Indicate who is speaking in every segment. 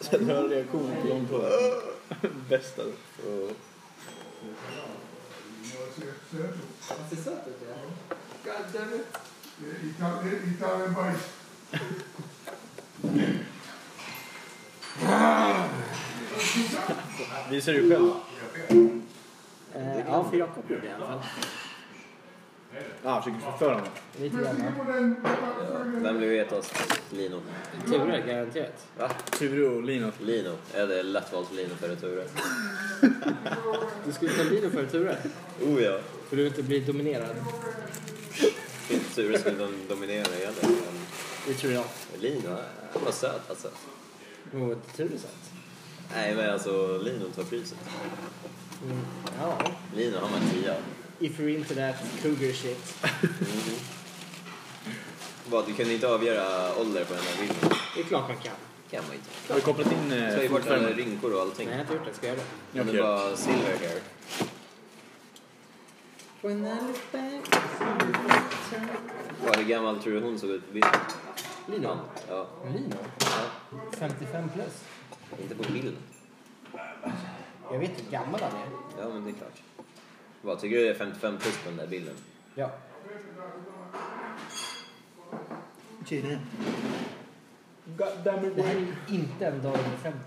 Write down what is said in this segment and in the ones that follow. Speaker 1: sällan jag har en reaktion på dem på bästa.
Speaker 2: ser söt ut, ja. God damn it.
Speaker 3: Italian bajs.
Speaker 1: Visar du själv?
Speaker 2: Eh, ja, för Jakob gjorde det i alla fall.
Speaker 1: Ja, ah, försöker förföra honom.
Speaker 2: Lite grann.
Speaker 4: Vem blev hetast? Lino.
Speaker 2: Ture, garanterat.
Speaker 4: Va?
Speaker 1: Ture och Lino.
Speaker 4: Lino. Är det lättvalt Lino före Ture?
Speaker 2: Du skulle ta Lino före Ture.
Speaker 4: Oh ja.
Speaker 2: För du vill inte bli dominerad.
Speaker 4: Inte Ture skulle dom- dominera heller. Men
Speaker 2: Det tror jag.
Speaker 4: Lino, han var söt alltså.
Speaker 2: Jo, det Ture satt.
Speaker 4: Nej men alltså Lino tar priset.
Speaker 2: Mm. Ja.
Speaker 4: Lino han var en tia.
Speaker 2: If you're into that cougar shit.
Speaker 4: Vad, du kunde inte avgöra ålder på den här bilden?
Speaker 2: Det är klart man kan.
Speaker 4: kan man inte.
Speaker 1: Har du kopplat in
Speaker 4: Du tar ju
Speaker 1: eh,
Speaker 4: bort alla
Speaker 1: fotfärgen?
Speaker 4: rynkor och allting.
Speaker 2: Nej, jag har inte gjort det. Ska jag göra det?
Speaker 4: Om det
Speaker 1: Okej.
Speaker 4: var silver hair.
Speaker 2: When I look back...
Speaker 4: Vad, hur gammal tror du hon såg ut på bilden?
Speaker 2: Lino.
Speaker 4: Ja.
Speaker 2: Lino?
Speaker 4: ja.
Speaker 2: 55 plus.
Speaker 4: Inte på bilden.
Speaker 2: Jag vet hur gammal han är.
Speaker 4: Ja men det är klart. Vad, tycker du det är 55 plus på den där bilden?
Speaker 2: Ja.
Speaker 1: Tydligen.
Speaker 2: God damn it, det här är ju inte en dag över 50.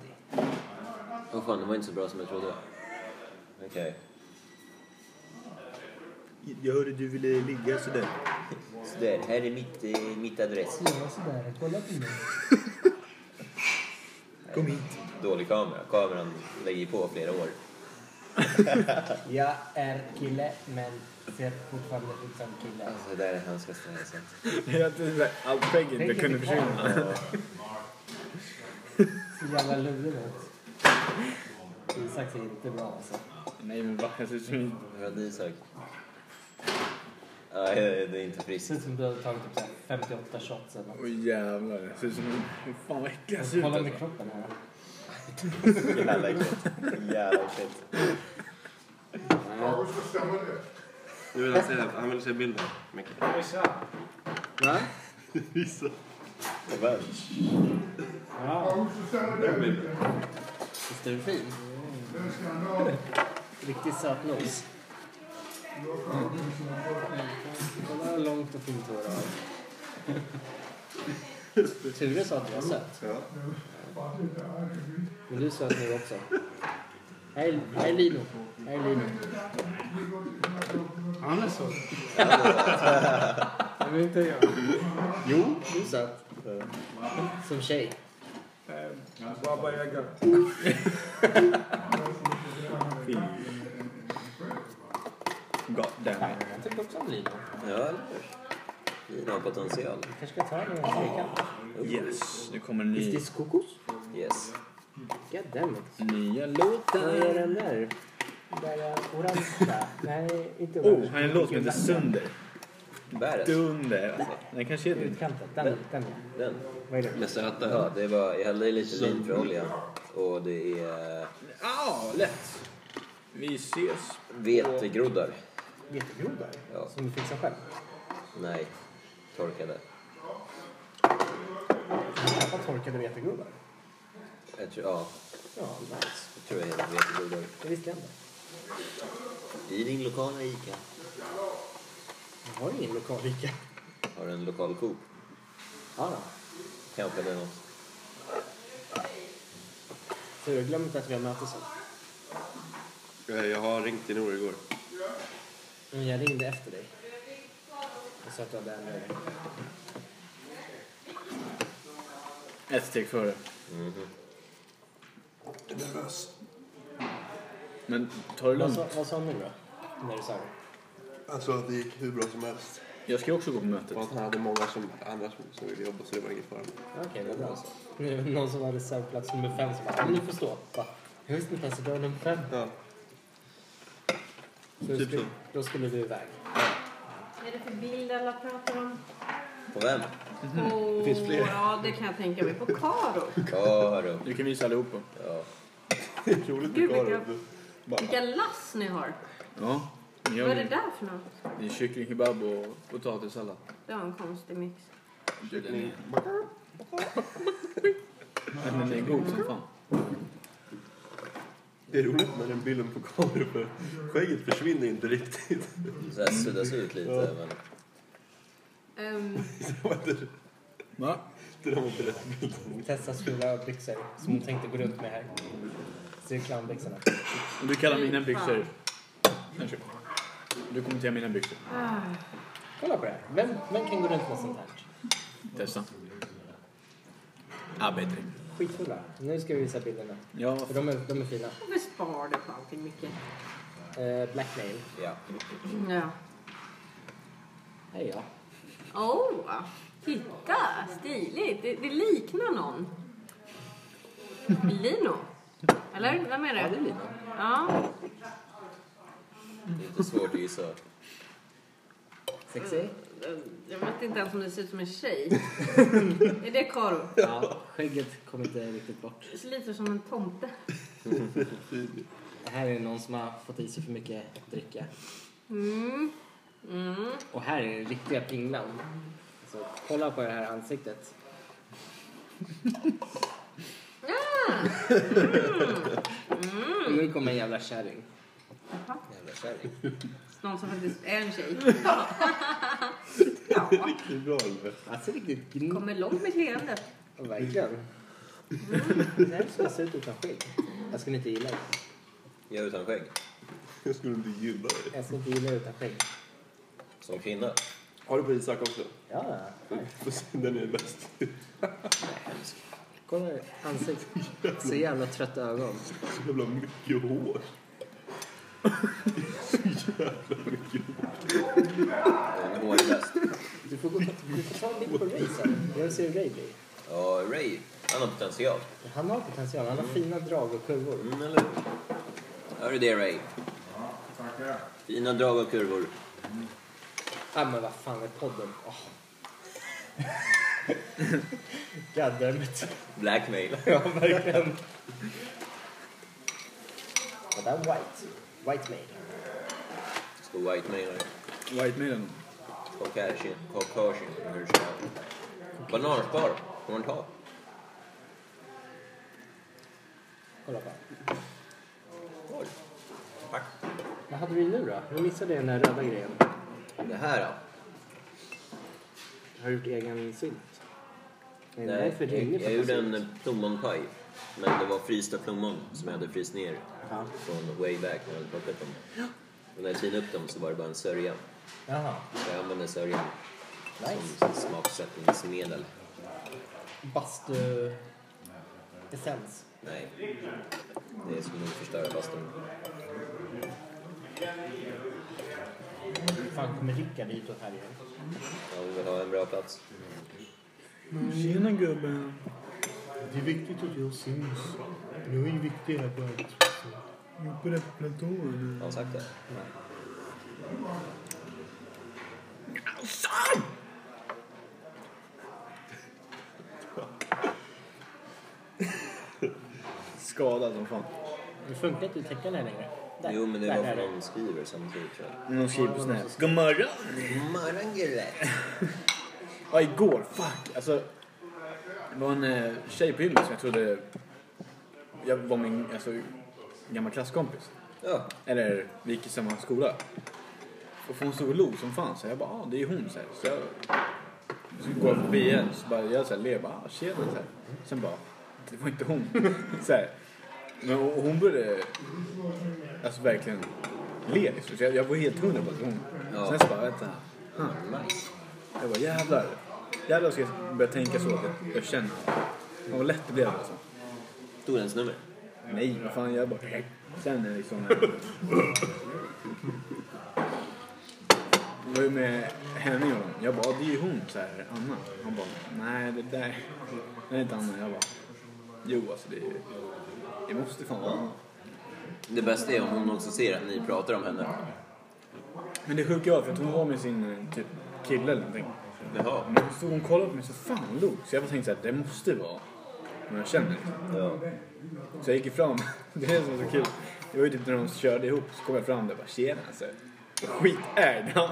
Speaker 4: Åh fan, det var inte så bra som jag trodde. Okej.
Speaker 1: Jag hörde du ville ligga sådär.
Speaker 4: Så där, här är mitt, eh, mitt adress.
Speaker 2: Ja, sådär. Kolla på mig.
Speaker 1: Kom hit.
Speaker 4: Dålig kamera. Kameran lägger på flera år.
Speaker 2: Jag är kille, men ser fortfarande ut som kille.
Speaker 4: Alltså, det där är hemskaste jag har sett.
Speaker 1: Allt skägg inte
Speaker 2: Tänk
Speaker 1: kunde
Speaker 2: inte kvar.
Speaker 1: försvinna.
Speaker 2: Så jävla lurig ut. Isak ser inte bra alltså.
Speaker 1: Nej men va? Jag ser ut som en-
Speaker 4: Hur hade ni sagt? Nej, det det är inte
Speaker 2: Det
Speaker 4: friskt.
Speaker 2: ser ut som du har tagit typ så här 58 shots eller något.
Speaker 1: Åh jävlar. Jag ser ut som en... Fy Fan vad äcklig jag ser ut.
Speaker 2: Kolla
Speaker 1: alltså.
Speaker 2: med kroppen här.
Speaker 4: Jävla äckligt. Jävla äckligt.
Speaker 3: Lagos bestämmer det.
Speaker 5: Nu vill han se, han vill se bilden. Micke.
Speaker 2: Va? Ja.
Speaker 4: Väl.
Speaker 3: Lagos bestämmer det.
Speaker 2: Visst är du fin?
Speaker 3: Den ska han ha.
Speaker 2: Riktigt söt nos. Kolla hur Mm. långt och fint hår du har. Ture sa att du var söt. Men du är söt nu också. Här är, här är Lino. Här är Lino.
Speaker 6: Han är så. Det vill inte jag.
Speaker 2: Jo, du är söt. Som tjej.
Speaker 6: Baba Yaga.
Speaker 1: God damn it.
Speaker 2: Jag tycker också om Lino.
Speaker 4: Ja, eller hur? Lina har potential.
Speaker 2: kanske ska ta den i trekant.
Speaker 1: Yes. Nu kommer
Speaker 2: Is
Speaker 1: ny,
Speaker 2: this kokos?
Speaker 4: Yes.
Speaker 2: God damn it.
Speaker 1: nya
Speaker 2: Vad är
Speaker 1: låtar.
Speaker 2: den där? Där är orangea. Nej, inte
Speaker 1: Oh, han har en låt som heter Sönder.
Speaker 4: Bäret.
Speaker 1: Dunder alltså. Den kanske heter inte.
Speaker 2: Utkanten. Den, den ja.
Speaker 4: Den.
Speaker 2: Vad är det?
Speaker 5: Med söta
Speaker 4: Ja, det var... Jag hällde i lite linfröolja. Och det är
Speaker 1: Ja, lätt. Vi ses.
Speaker 4: vetegroddar.
Speaker 2: Vetegrodar?
Speaker 4: Ja.
Speaker 2: Som du fixar själv?
Speaker 4: Nej. Torkade.
Speaker 2: Vad torkade vetegrodar?
Speaker 4: Jag tror, ja,
Speaker 2: Ja, nice.
Speaker 4: jag tror jag heter vetegroddar.
Speaker 2: Det visste jag inte.
Speaker 4: I din lokala ICA.
Speaker 2: Jag har ingen lokal Ica.
Speaker 4: Har du en lokal Coop?
Speaker 2: Ja, då.
Speaker 4: Kanske det är något.
Speaker 2: Tur, glöm inte att vi har möte sen.
Speaker 5: Eh, Jag har ringt till Nor igår.
Speaker 2: Men jag ringde efter dig. Jag sa att du hade en eh, grej.
Speaker 1: Ett steg före. Men ta det
Speaker 2: Vad
Speaker 1: lugnt.
Speaker 2: sa- Vad sa han nu då? När du sa det?
Speaker 5: Alltså att det gick hur bra som helst.
Speaker 1: Jag ska ju också gå på mötet.
Speaker 5: Och att han hade många som, andra som, som ville jobba så det var ingen fara.
Speaker 2: Okej, vad bra. Nu är det någon som hade reservplats nummer fem som bara, "Ja, men du får stå. Va? Jag visste inte ens att du var nummer fem.
Speaker 5: Ja.
Speaker 2: Så då
Speaker 5: Typ
Speaker 2: skulle,
Speaker 5: så.
Speaker 2: då skulle du iväg.
Speaker 7: Vad är det för bild alla pratar om?
Speaker 4: På vem?
Speaker 7: Det
Speaker 5: finns fler.
Speaker 7: Ja, det kan jag tänka mig. På Karo.
Speaker 4: Karo.
Speaker 1: Du kan visa allihopa.
Speaker 4: Ja.
Speaker 5: Otroligt
Speaker 7: Gud,
Speaker 5: mycket
Speaker 7: vilka-
Speaker 5: har
Speaker 7: Vilka lass ni har.
Speaker 1: Ja. men Jag
Speaker 7: Vad är det
Speaker 1: vill-
Speaker 7: där för något?
Speaker 1: det är kycklingkebab och potatissallad.
Speaker 7: Det var en konstig mix.
Speaker 1: Men den är god som fan.
Speaker 5: Det är roligt med den bilden på kameran för skägget försvinner inte riktigt.
Speaker 4: Så här suddas ut lite. Men...
Speaker 7: Ehm,
Speaker 5: Det var inte-
Speaker 1: Va?
Speaker 5: det där var inte rätt.
Speaker 2: Testa fula byxor som hon tänkte gå runt med här. Ser clownbyxorna.
Speaker 1: Och Du kallar mina byxor... Kanske. Du kommenterar mina byxor.
Speaker 7: ah,
Speaker 2: Kolla på det här. Vem, vem kan gå runt med sånt här?
Speaker 1: Testa. Arbete.
Speaker 2: Skitfula. Nu ska vi visa bilderna.
Speaker 1: Ja,
Speaker 2: För de är, de är fina.
Speaker 7: varför sparar du på allting mycket?
Speaker 2: Eh, blackmail.
Speaker 4: Ja.
Speaker 7: Ja.
Speaker 2: Hej ja.
Speaker 7: Oh, titta, stiligt. Det, det liknar någon. Lino. Eller? Vem är det? Ja, det är Lino. Ja.
Speaker 4: Det är inte svårt att gissa.
Speaker 2: Sexy.
Speaker 7: Jag vet inte ens om det ser ut som en tjej. är det Karo?
Speaker 2: Ja, skägget kommer inte riktigt bort.
Speaker 7: Det ser lite som en tomte.
Speaker 2: Det här är någon som har fått i sig för mycket dricka.
Speaker 7: Mm. Mm.
Speaker 2: Och här är den riktiga pinglan. Så kolla på det här ansiktet. Nu kommer en jävla kärring.
Speaker 4: Jävla kärring.
Speaker 7: Någon som faktiskt är en tjej.
Speaker 5: Riktigt bra Oliver.
Speaker 2: Alltså riktigt gn...
Speaker 7: Kommer långt med leendet.
Speaker 2: Verkligen. Det här skulle se ut utan skägg. Jag skulle inte gilla det.
Speaker 4: Jag är utan skägg.
Speaker 5: Jag skulle inte gilla det.
Speaker 2: Jag skulle inte gilla det utan skägg.
Speaker 4: Som kvinna.
Speaker 5: Har du på Isak också?
Speaker 2: Ja,
Speaker 5: Den är bäst.
Speaker 2: kolla det här ansiktet. Så jävla trötta ögon.
Speaker 5: Så jävla mycket hår.
Speaker 4: En hårfest.
Speaker 2: Du får, gå, du får ta en bild på Ray sen. Jag vill se hur Ray blir.
Speaker 4: Ja, Ray. Han har potential.
Speaker 2: Han har potential. Han har fina drag och kurvor.
Speaker 4: Mm, eller hur? Hör du det, Ray?
Speaker 3: Tackar.
Speaker 4: Fina drag och kurvor.
Speaker 2: Ja men vad fan är podden? Oh. Goddammit.
Speaker 4: Blackmail.
Speaker 2: Ja verkligen. Och där White. White mail.
Speaker 4: Stor white mailer.
Speaker 1: White Maiden.
Speaker 4: Caucasian. Caucasian. Hur ska jag? Bananspar. Får man ta?
Speaker 2: Kolla på.
Speaker 4: Oj. Tack.
Speaker 2: Vad hade vi nu då? Jag missade den där röda grejen.
Speaker 4: Det här då?
Speaker 2: Har du gjort egen sylt? Nej,
Speaker 4: Nej,
Speaker 2: därför ringer
Speaker 4: jag, jag gjorde
Speaker 2: faktiskt.
Speaker 4: en plommonpaj. Men det var frysta plommon som jag hade fryst ner
Speaker 2: Ja.
Speaker 4: från way back när jag hade plockat dem. Och när jag tinade upp dem så var det bara en sörja.
Speaker 2: Jaha.
Speaker 4: Så jag använde sörjan
Speaker 2: Nice.
Speaker 4: som smaksättningsmedel.
Speaker 2: Bastu... Essens.
Speaker 4: Nej, det skulle nog förstöra bastun.
Speaker 2: Fan kommer Rickard hit och här igen?
Speaker 4: Ja, vi vill ha en bra plats.
Speaker 1: Tjena gubben.
Speaker 2: Det är viktigt att jag syns. Jag är viktig här på arbetsplatsen.
Speaker 1: Uppe där på platån.
Speaker 4: Har han sagt det?
Speaker 1: Skadad som fan.
Speaker 2: Det funkar inte att täcka den här längre. Där.
Speaker 4: Jo, men det
Speaker 2: Där
Speaker 4: var
Speaker 2: är
Speaker 4: för
Speaker 2: den.
Speaker 4: någon skriver samtidigt tror jag.
Speaker 1: Någon skriver på Snap. Godmorgon!
Speaker 4: Morgon gulle!
Speaker 1: Ja, igår. Fuck. Alltså, det var en eh, tjej på gymmet som jag trodde jag var min alltså, gamla klasskompis.
Speaker 4: Ja,
Speaker 1: Eller vi gick i samma skola. Och för hon stod och log som fan så jag bara, ah, det är hon så här. Så jag så går jag förbi henne så bara, jag så här, ler bara, ah, tjena så här. Sen bara, det var inte hon. så här. Men och, och hon började, alltså verkligen le liksom. Så jag, jag var helt hundra på att det var hon.
Speaker 4: Ja.
Speaker 1: Sen så bara, vänta. huh. Jag bara, jävlar. Jävlar ska jag börja tänka så att jag, jag känner. Fan, Vad lätt det blev alltså.
Speaker 4: tog ens nummer.
Speaker 1: Nej, vad fan jag bara... Sen är det liksom... Jag var ju med henne och honom. Jag bara, "Ah, det är ju hon så här, Anna. Han bara, nej det där... Det är inte Anna. Jag bara, jo alltså det är ju... Det måste fan vara Anna.
Speaker 4: Det bästa är om hon också ser att ni pratar om henne.
Speaker 1: Men det sjuka var för att hon var med sin eh, typ kille eller någonting.
Speaker 4: Jaha.
Speaker 1: Men hon stod och kollade på mig så fan log. Så jag bara tänkte så här, det måste vara någon jag känner. liksom.
Speaker 4: Ja.
Speaker 1: Så jag gick ju fram. Det är det som är så kul. Det var ju typ när de körde ihop så kom jag fram där och bara tjena alltså. Skitärd. Han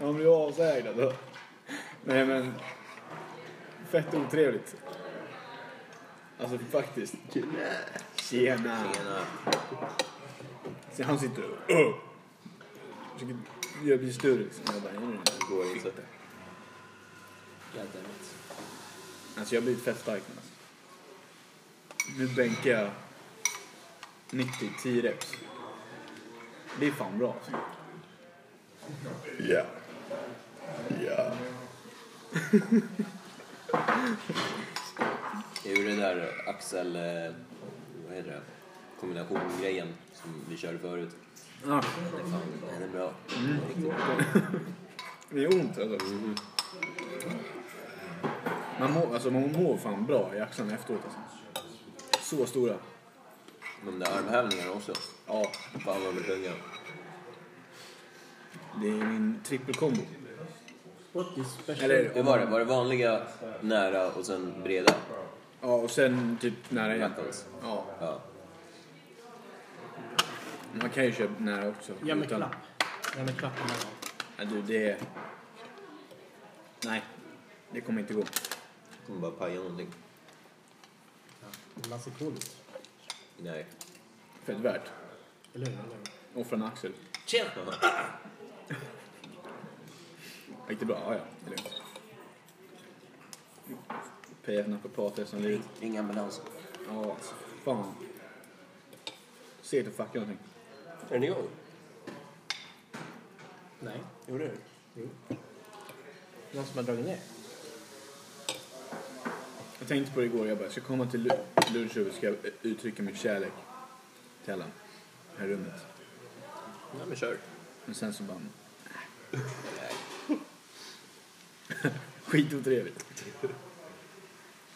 Speaker 1: Han blev ju asärd alltså. Nej men. Fett otrevligt. Alltså faktiskt. Tjena.
Speaker 4: Tjena.
Speaker 1: Så han sitter och... "Åh!" Försöker göra bli större liksom. Jag bara, "Nej, nej, nej."
Speaker 4: Går inte.
Speaker 2: Goddammit.
Speaker 1: Alltså jag har blivit fett stark nu. alltså. Nu bänkar jag 90, 10 reps. Det är fan bra alltså.
Speaker 5: Ja. Ja.
Speaker 4: Det är ju den där axel... eh, Vad heter det? Kombinationgrejen som vi körde förut.
Speaker 1: Ah,
Speaker 4: Den är, fan, den är bra.
Speaker 2: Mm.
Speaker 4: Riktigt bra.
Speaker 1: det är ont alltså. Man mår, alltså, man mår fan bra i axlarna efteråt alltså. Så stora.
Speaker 4: De där armhävningarna också.
Speaker 1: Ja,
Speaker 4: Fan vad de är tunga.
Speaker 1: det är min trippelkombo.
Speaker 2: What is special?
Speaker 1: Eller,
Speaker 4: Hur var det? Var det vanliga, nära och sen breda?
Speaker 1: ja och sen typ nära igen.
Speaker 4: Backhands?
Speaker 1: Ja,
Speaker 4: Ja.
Speaker 1: man kan ju köra nära också.
Speaker 2: Ja men
Speaker 1: utan-
Speaker 2: klapp. Ja men klapp den här gången.
Speaker 1: Nej du, det... Nej, det kommer inte gå.
Speaker 4: Kommer bara paja någonting.
Speaker 2: Ja, men man ser cool ut.
Speaker 4: Nej.
Speaker 1: Fett värt.
Speaker 2: Eller hur? Eller hur?
Speaker 1: Offra en axel.
Speaker 2: Tjena!
Speaker 1: Gick det bra? Ja, ja. Det är lugnt. PF naprapat resten av livet.
Speaker 4: Ring ambulans.
Speaker 1: Ja, alltså. Fan. Se till fucka någonting.
Speaker 5: Är den igång?
Speaker 2: Nej.
Speaker 5: Jo, det är den.
Speaker 2: Jo. Någon som har dragit ner?
Speaker 1: Jag tänkte på det igår. Jag bara, jag ska komma till Lu- Lundsjö och ska eh, uttrycka min kärlek till alla. Det här rummet.
Speaker 4: Ja men kör.
Speaker 1: Men sen så bara... Skitotrevligt.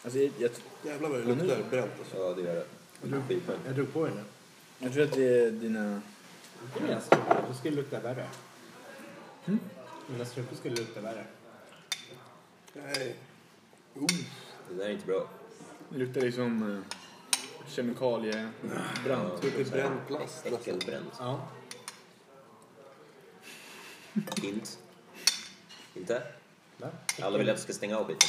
Speaker 1: Alltså, jag, jag,
Speaker 5: Jävlar vad det luktar bränt alltså.
Speaker 4: Ja det gör det. Pipen.
Speaker 2: Jag drog på den nu.
Speaker 1: jag tror att det är dina...
Speaker 2: Mina strumpor skulle lukta värre. Mm. Mina strumpor skulle lukta värre.
Speaker 5: Nej.
Speaker 4: Det där är inte bra.
Speaker 1: Det luktar liksom eh, kemikaliebrand.
Speaker 5: Det är bränd plast nästan.
Speaker 4: Äckelbränt.
Speaker 2: Ja.
Speaker 4: Inte. Inte?
Speaker 2: Va?
Speaker 4: Alla vill att jag ska stänga av skiten.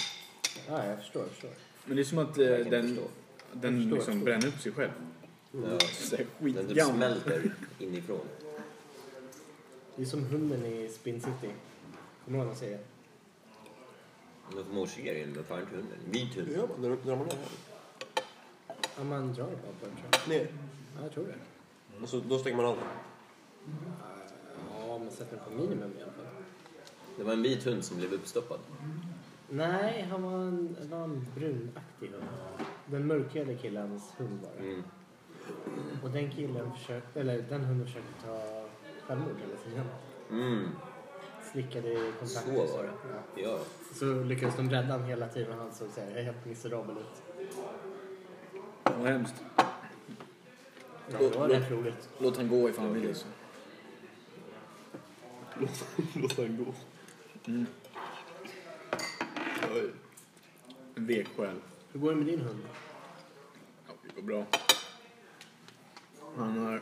Speaker 2: Ja, jag förstår. Jag förstår.
Speaker 1: Men det är som att eh,
Speaker 4: Jag kan
Speaker 1: den,
Speaker 4: förstå.
Speaker 1: den
Speaker 2: förstår,
Speaker 1: liksom
Speaker 2: jag
Speaker 1: bränner upp sig själv.
Speaker 5: Mm.
Speaker 4: Ja.
Speaker 1: Så här
Speaker 4: Den typ
Speaker 1: Skitgammal.
Speaker 4: smälter inifrån.
Speaker 2: Det är som hunden i Spin City. Kommer du ihåg den serien?
Speaker 4: Men för morserien, men fan inte hunden. Vit
Speaker 5: Hur
Speaker 4: hund.
Speaker 5: gör man när när man är här?
Speaker 2: Ja, man drar bara på den tror jag.
Speaker 5: Ner.
Speaker 2: Ja, jag tror det.
Speaker 5: Och så, då stänger man av den.
Speaker 2: Ja, men sätter den på minimum i alla fall.
Speaker 4: Det var en vit hund som blev uppstoppad.
Speaker 2: Nej, han var en, han var en brunaktig hund. Den mörkhyade killens hund var det.
Speaker 4: Mm.
Speaker 2: Och den killen försökte, eller den hunden försökte ta självmord hela tiden.
Speaker 4: Mm.
Speaker 2: Slickade i kontakt.
Speaker 4: Så var det.
Speaker 2: Ja.
Speaker 4: Ja.
Speaker 2: Så lyckades de rädda honom hela tiden och han såg så här helt miserabel ut.
Speaker 1: Vad hemskt.
Speaker 2: Ja, det var rätt roligt.
Speaker 1: Låt han gå ifall han vill. Liksom.
Speaker 5: Låt, låt den gå.
Speaker 1: Mm.
Speaker 5: Oj.
Speaker 1: En vek själ.
Speaker 2: Hur går det med din hund?
Speaker 1: Ja, det går bra. Han har...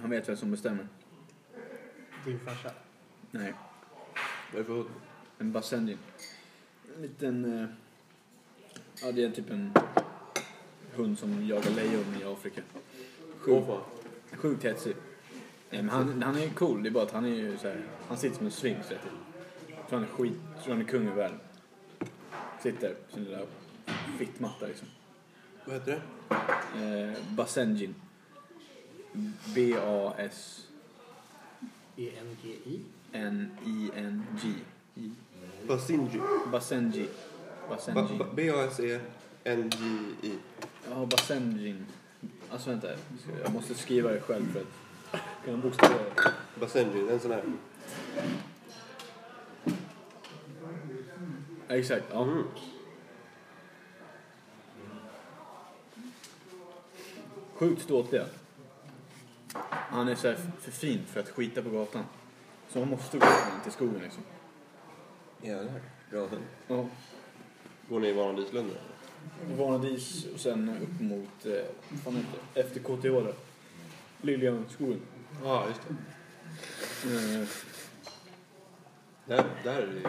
Speaker 1: Han vet vem som bestämmer.
Speaker 2: Din farsa?
Speaker 1: Nej,
Speaker 5: Vad är det för hund?
Speaker 1: en typ. bassendian. En liten... Eh... Ja, det är typ en hund som jagar lejon i Afrika. Sjuk,
Speaker 5: Åh, fan.
Speaker 1: sjukt hetsig. Nej, men han, han är ju cool, det är bara att han är ju så här, Han sitter som en sphinx vet du. Tror han är skit, tror han är kung i världen. Sitter på sin lilla fittmatta liksom.
Speaker 5: Vad heter det?
Speaker 1: Eh, Basenjin. B-A-S-N-I-N-G.
Speaker 2: E-N-G-I?
Speaker 5: Basinji.
Speaker 1: Basenji.
Speaker 5: Ba-
Speaker 1: Basenji.
Speaker 5: ba- E B-A-S-E-N-J-I.
Speaker 1: Ja, Basenjin. Alltså vänta, jag måste skriva det själv för att kunna bokstavera det.
Speaker 5: Basenji, en sån här.
Speaker 1: Ja, Exakt, ja. Sjukt ståtliga. Han är så här för fin för att skita på gatan. Så han måste gå in till skogen liksom.
Speaker 4: Jävlar. Bra hund.
Speaker 1: Ja.
Speaker 5: Går ni i Vanadislunde?
Speaker 1: Vanadis och sen upp mot, eh, vad fan heter det, efter KTH där. Liljanskogen.
Speaker 5: Ja, ah, just det.
Speaker 1: Eh,
Speaker 5: Där, där är det ju...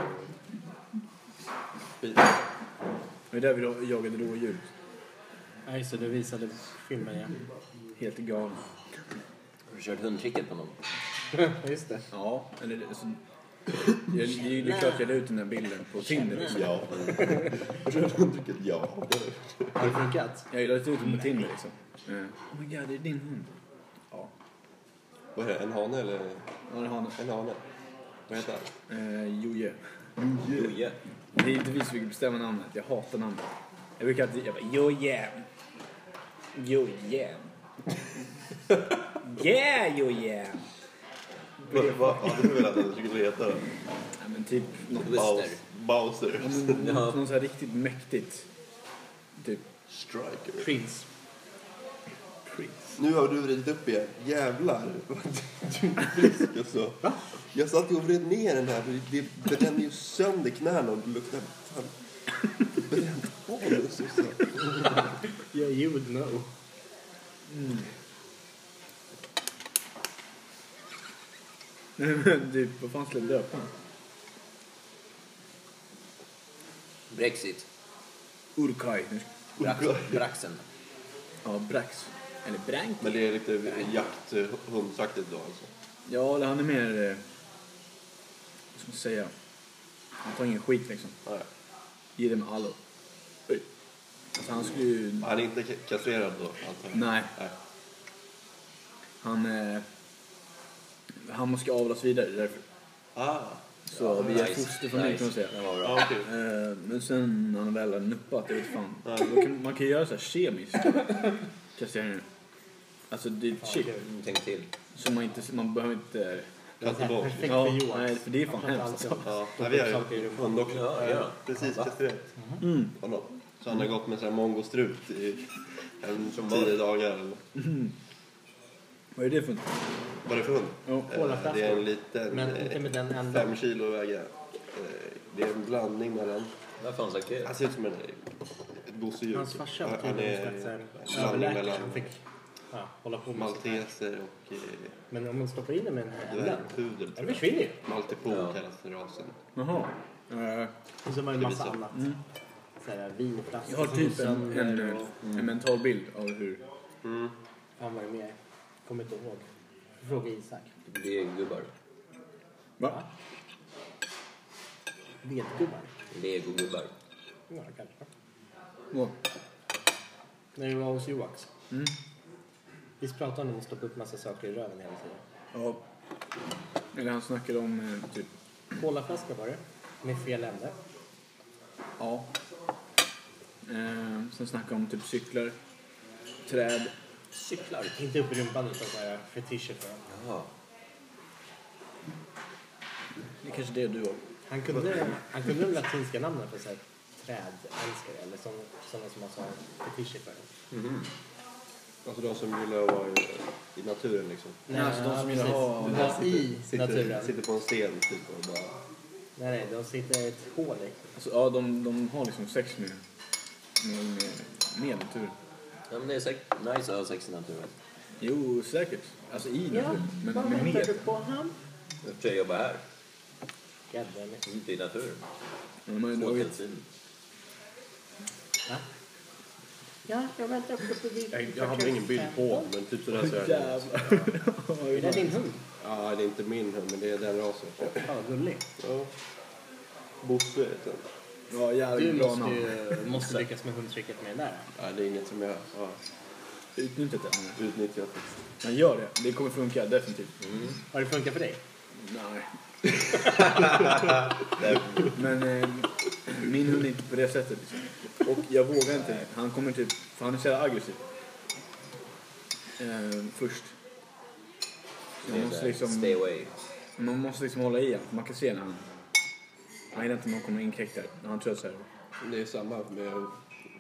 Speaker 5: Fint.
Speaker 1: Det är där vi då jagade rådjur.
Speaker 2: Nej, så du visade filmen, ja.
Speaker 1: Helt galen.
Speaker 4: Har du kört hundtricket på någon?
Speaker 2: Just det.
Speaker 1: Ja, eller det- alltså, jag, det, är- det är klart jag la ut den här bilden på Tinder. Liksom.
Speaker 5: Ja. Har du kört hundtricket? Ja.
Speaker 2: Har det funkat?
Speaker 1: Jag la ut den på Tinder liksom. Mm. Oh my god, det är din hund. Ja,
Speaker 5: Vad är det? En hane eller?
Speaker 1: ja det har han.
Speaker 5: En hane. Vad heter han?
Speaker 1: Eh, Joje.
Speaker 4: Joje.
Speaker 1: Det är inte vi som fick bestämma namnet. Jag hatar namnet. Jag brukar alltid... Jag bara, Joje. Joje. Yeah, Joje.
Speaker 5: Vad vad hade du velat att den skulle heta? då?
Speaker 1: Ja, men typ... Något,
Speaker 5: Baus-
Speaker 4: Buster.
Speaker 5: Bowser.
Speaker 1: något, något så här riktigt mäktigt. Typ.
Speaker 5: Striker.
Speaker 2: Prince.
Speaker 5: Nu har du vridit upp igen. Jävlar. Du är frisk alltså. Jag satt ju och vred ner den här. Det, det bränner ju sönder knäna och det luktar fan bränt anus. alltså.
Speaker 2: Yeah, you would know.
Speaker 1: Nej, men typ, vad fan skulle jag döpa den?
Speaker 4: Brexit.
Speaker 1: Urkaj. Nu ska-
Speaker 4: Brax- Braxen.
Speaker 1: Ja, Brax. Eller Brank.
Speaker 5: Men det är lite jakt, eh, hundsaktigt då alltså.
Speaker 1: Ja, eller han är mer... eh, Vad ska man säga? Han tar ingen skit liksom.
Speaker 5: Nej.
Speaker 1: Ge det med allo. Oj. Alltså han skulle ju...
Speaker 5: Han är inte ka- kastrerad då antar jag?
Speaker 1: Nej,
Speaker 5: Nej.
Speaker 1: han... Eh, han ska avlas vidare därför.
Speaker 5: Ah,
Speaker 1: Så vi är
Speaker 4: nice,
Speaker 1: fosterfamilj
Speaker 4: nice.
Speaker 1: kan man säga.
Speaker 4: Det var bra.
Speaker 5: ah okej.
Speaker 1: Eh, men sen när han väl har nuppat, jag vet fan. Då kan, man kan ju göra så här kemiskt. Kastrering. Alltså det är ett chip.
Speaker 4: Mm, Tänk till.
Speaker 1: Så man, inte, man behöver inte...
Speaker 5: Kasta bort.
Speaker 2: Perfekt
Speaker 1: Ja,
Speaker 2: för Johan.
Speaker 1: nej, för det är fan
Speaker 2: Han pratar
Speaker 1: hemskt, alltså.
Speaker 2: alltid om
Speaker 5: Ja, nej, vi har
Speaker 2: saker i
Speaker 5: ju
Speaker 2: rummet.
Speaker 5: hund också.
Speaker 4: Ja, ja.
Speaker 5: Precis
Speaker 4: Va? Mm.
Speaker 5: kastrerat honom. Så han har gått med sån här mongostrut i en, tio dagar eller
Speaker 1: Vad är det för
Speaker 5: Vad är det för hund?
Speaker 1: Ja,
Speaker 5: Eh,
Speaker 2: kolaflaskor.
Speaker 5: det är en liten,
Speaker 2: Men
Speaker 5: eh,
Speaker 2: inte med den änden.
Speaker 5: fem kilo väga. Eh, Det är en blandning mellan,
Speaker 4: Vad fan sa kul?
Speaker 5: han ser ut som en, eh, ett gosedjur.
Speaker 2: Hans farsa var
Speaker 5: Han- han
Speaker 2: tydligen
Speaker 5: är
Speaker 2: någon slags så här
Speaker 5: en blandning
Speaker 2: överläkare
Speaker 5: mellan
Speaker 2: som fick ja, hålla på med sånt.
Speaker 5: malteser och eh,
Speaker 2: Men om man stoppar in den med den här änden,
Speaker 5: dvärgpudel.
Speaker 2: den försvinner ju.
Speaker 5: Maltipol
Speaker 4: Ja.
Speaker 5: kallas den rasen.
Speaker 1: Jaha. Eh,
Speaker 2: Och så var det en
Speaker 5: Det
Speaker 2: massa
Speaker 5: blir så.
Speaker 2: annat. Så här vinflaskor
Speaker 1: Mm. jag har
Speaker 2: som
Speaker 1: typ
Speaker 2: går
Speaker 1: en,
Speaker 2: sönder
Speaker 1: en, mm.
Speaker 2: och-
Speaker 1: en mental bild av hur...
Speaker 2: Han var ju med. Kommer inte ihåg. Fråga Isak.
Speaker 4: Det är gubbar.
Speaker 1: Va?
Speaker 2: Vedgubbar?
Speaker 4: Legogubbar.
Speaker 2: Ja, kanske.
Speaker 1: Åh,
Speaker 2: När vi var hos Joax.
Speaker 1: Mm.
Speaker 2: Visst pratade han om att stoppa upp massa saker i röven hela tiden?
Speaker 1: Ja. Eller han snackade om eh, typ...
Speaker 2: Kolaflaska var det. Med fel ände.
Speaker 1: Ja. Eh, sen snackade han om typ cyklar, träd.
Speaker 2: Cyklar. Inte upp i rumpan utan bara fetischer för dem.
Speaker 4: Jaha.
Speaker 1: Det är kanske det du har.
Speaker 2: Han kunde, han kunde de latinska namnen för så här trädälskare eller som- sådana som har så här fetischer för dem.
Speaker 5: Alltså de som gillar att vara i, i naturen liksom.
Speaker 1: Nej, alltså de som gillar
Speaker 2: precis.
Speaker 1: ha-
Speaker 2: De var Mm. i
Speaker 5: Sitter,
Speaker 2: naturen.
Speaker 5: sitter på en sten typ och bara...
Speaker 2: Nej, nej, de sitter i ett hål i.
Speaker 1: Alltså, ja, de, de har liksom sex med... Med, med, med naturen.
Speaker 4: Ja, men det är säkert nice att ha sex i naturen.
Speaker 1: Jo, säkert. Alltså i naturen. men
Speaker 2: vad
Speaker 1: men
Speaker 2: väntar
Speaker 1: med.
Speaker 2: du på han?
Speaker 4: Jag försöker jobba här.
Speaker 2: Goddammit.
Speaker 4: Inte i naturen.
Speaker 1: Men de har ju dragit...
Speaker 4: Småkallsyn.
Speaker 2: Ja, jag väntar på din.
Speaker 5: Jag, jag hade ingen bild på men typ sådär så är det.
Speaker 2: Är det din hund?
Speaker 5: Ja, det är inte min hund, men det är den rasen.
Speaker 2: Ja, gullig.
Speaker 5: Ja. Bosse heter den.
Speaker 1: Ja,
Speaker 2: Du
Speaker 1: jävligt bra
Speaker 2: måste
Speaker 1: namn.
Speaker 2: ju måste lyckas med hundtricket med den där.
Speaker 5: Ja, det är inget som jag har
Speaker 1: Utnyttjat det. Anna.
Speaker 5: utnyttjat.
Speaker 1: Men gör det. Det kommer funka, definitivt.
Speaker 2: Har det funkat för dig?
Speaker 1: Nej. Men eh, min hund är inte på det sättet. Liksom. Och jag vågar inte. Han kommer typ, för han är så jävla aggressiv. Eh, först. Så
Speaker 4: Det
Speaker 1: Man
Speaker 4: är
Speaker 1: måste,
Speaker 4: såhär, Stay
Speaker 1: liksom,
Speaker 4: away.
Speaker 1: man måste liksom hålla i honom. Man kan se när han... Han gillar inte när man kommer inkräktare. När han tror att så här.
Speaker 5: Det är samma med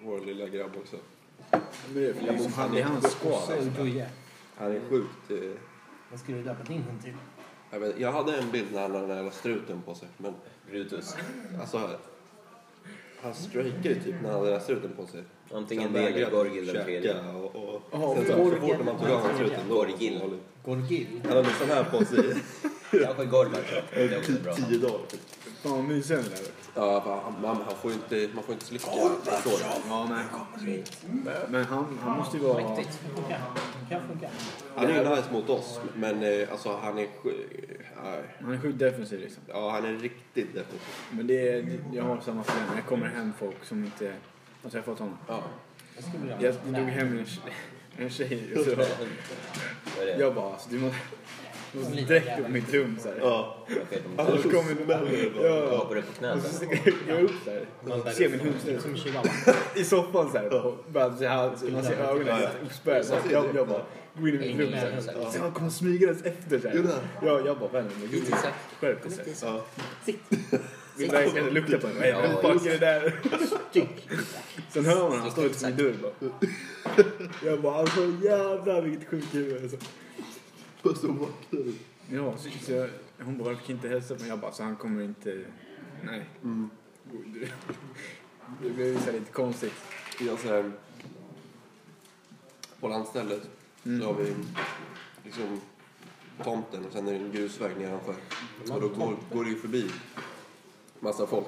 Speaker 5: vår lilla grabb också.
Speaker 1: Men det är för det är liksom han- det är hans skval. Alltså.
Speaker 2: Doje.
Speaker 5: Han är sjukt... Eh,
Speaker 2: Vad skulle du döpa din hund till?
Speaker 5: jag, vet, jag hade en bild när han hade den här jävla struten på sig, men
Speaker 4: Brutus.
Speaker 5: alltså... Han strejkade ju typ när han hade den här struten på sig.
Speaker 4: Antingen
Speaker 5: Han
Speaker 4: det eller
Speaker 5: vägrade
Speaker 4: Gorgil den
Speaker 5: käka
Speaker 4: tredje.
Speaker 5: Och, och,
Speaker 1: Ja,
Speaker 5: sen så
Speaker 2: Gorgil.
Speaker 5: så fort man tog av honom struten, då var det
Speaker 4: Gorgil.
Speaker 5: dåligt.
Speaker 2: Gorgil?
Speaker 5: Han hade sån här på sig. typ
Speaker 4: Kanske golvet. Det är också bra.
Speaker 5: Tio dagar.
Speaker 1: Fan vad mysig den där
Speaker 5: Ja, fan, man, han får ju inte, man får inte slicka tråden.
Speaker 1: Ja, nej. Men han, han måste ju vara...
Speaker 2: kan funka.
Speaker 5: Han är ju nice mot oss, men eh, alltså han är... sj- eh,
Speaker 1: Han är sjukt defensiv liksom.
Speaker 5: Ja, han är riktigt defensiv.
Speaker 1: Men det är, jag har samma problem. Jag kommer hem folk som inte har träffat honom.
Speaker 5: Ja.
Speaker 2: Jag skulle vilja ha
Speaker 1: Jag
Speaker 2: en
Speaker 1: drog
Speaker 2: där.
Speaker 1: hem en tjej, en tjej och så,
Speaker 4: Vad är det?
Speaker 1: jag bara alltså, du måste, du måste direkt upp i mitt rum så här.
Speaker 5: ja.
Speaker 4: Jag vet inte.
Speaker 5: Annars
Speaker 1: så kommer du med
Speaker 5: smäller det bara.
Speaker 4: Jag
Speaker 1: Ja.
Speaker 4: hoppar upp på knät.
Speaker 1: Och så går jag upp där.
Speaker 2: Någon där
Speaker 1: Ser min hund
Speaker 2: uppe. Som chihuahua.
Speaker 1: i soffan så här. Och bara, så här så man ser ögonen helt uppspärrade. Jag, jag bara går in i mitt rum så här.
Speaker 4: Ja.
Speaker 1: Sen han kommer smygandes efter så
Speaker 5: Gjorde han?
Speaker 1: här. Ja, jag bara vännen men gud.
Speaker 4: Isak.
Speaker 1: Skärp dig. så här.
Speaker 5: Ja.
Speaker 1: Vill verkligen lukta på den. Nej,
Speaker 4: Ja,
Speaker 1: vem fuck är det där? Sen hör man han står utanför min dörr bara. Jag bara alltså jävlar vilket sjukt huvud alltså.
Speaker 5: Fast så vacker.
Speaker 1: Ja, så, så jag, hon bara, jag fick inte hälsa men jag bara, så han kommer inte... Nej.
Speaker 5: Mm.
Speaker 1: Det- Det blev så här lite konstigt.
Speaker 5: Jag så här, på landstället
Speaker 1: Mm.
Speaker 5: så har vi liksom tomten och sen är det en grusväg nedanför. Och då går, går det ju förbi massa folk.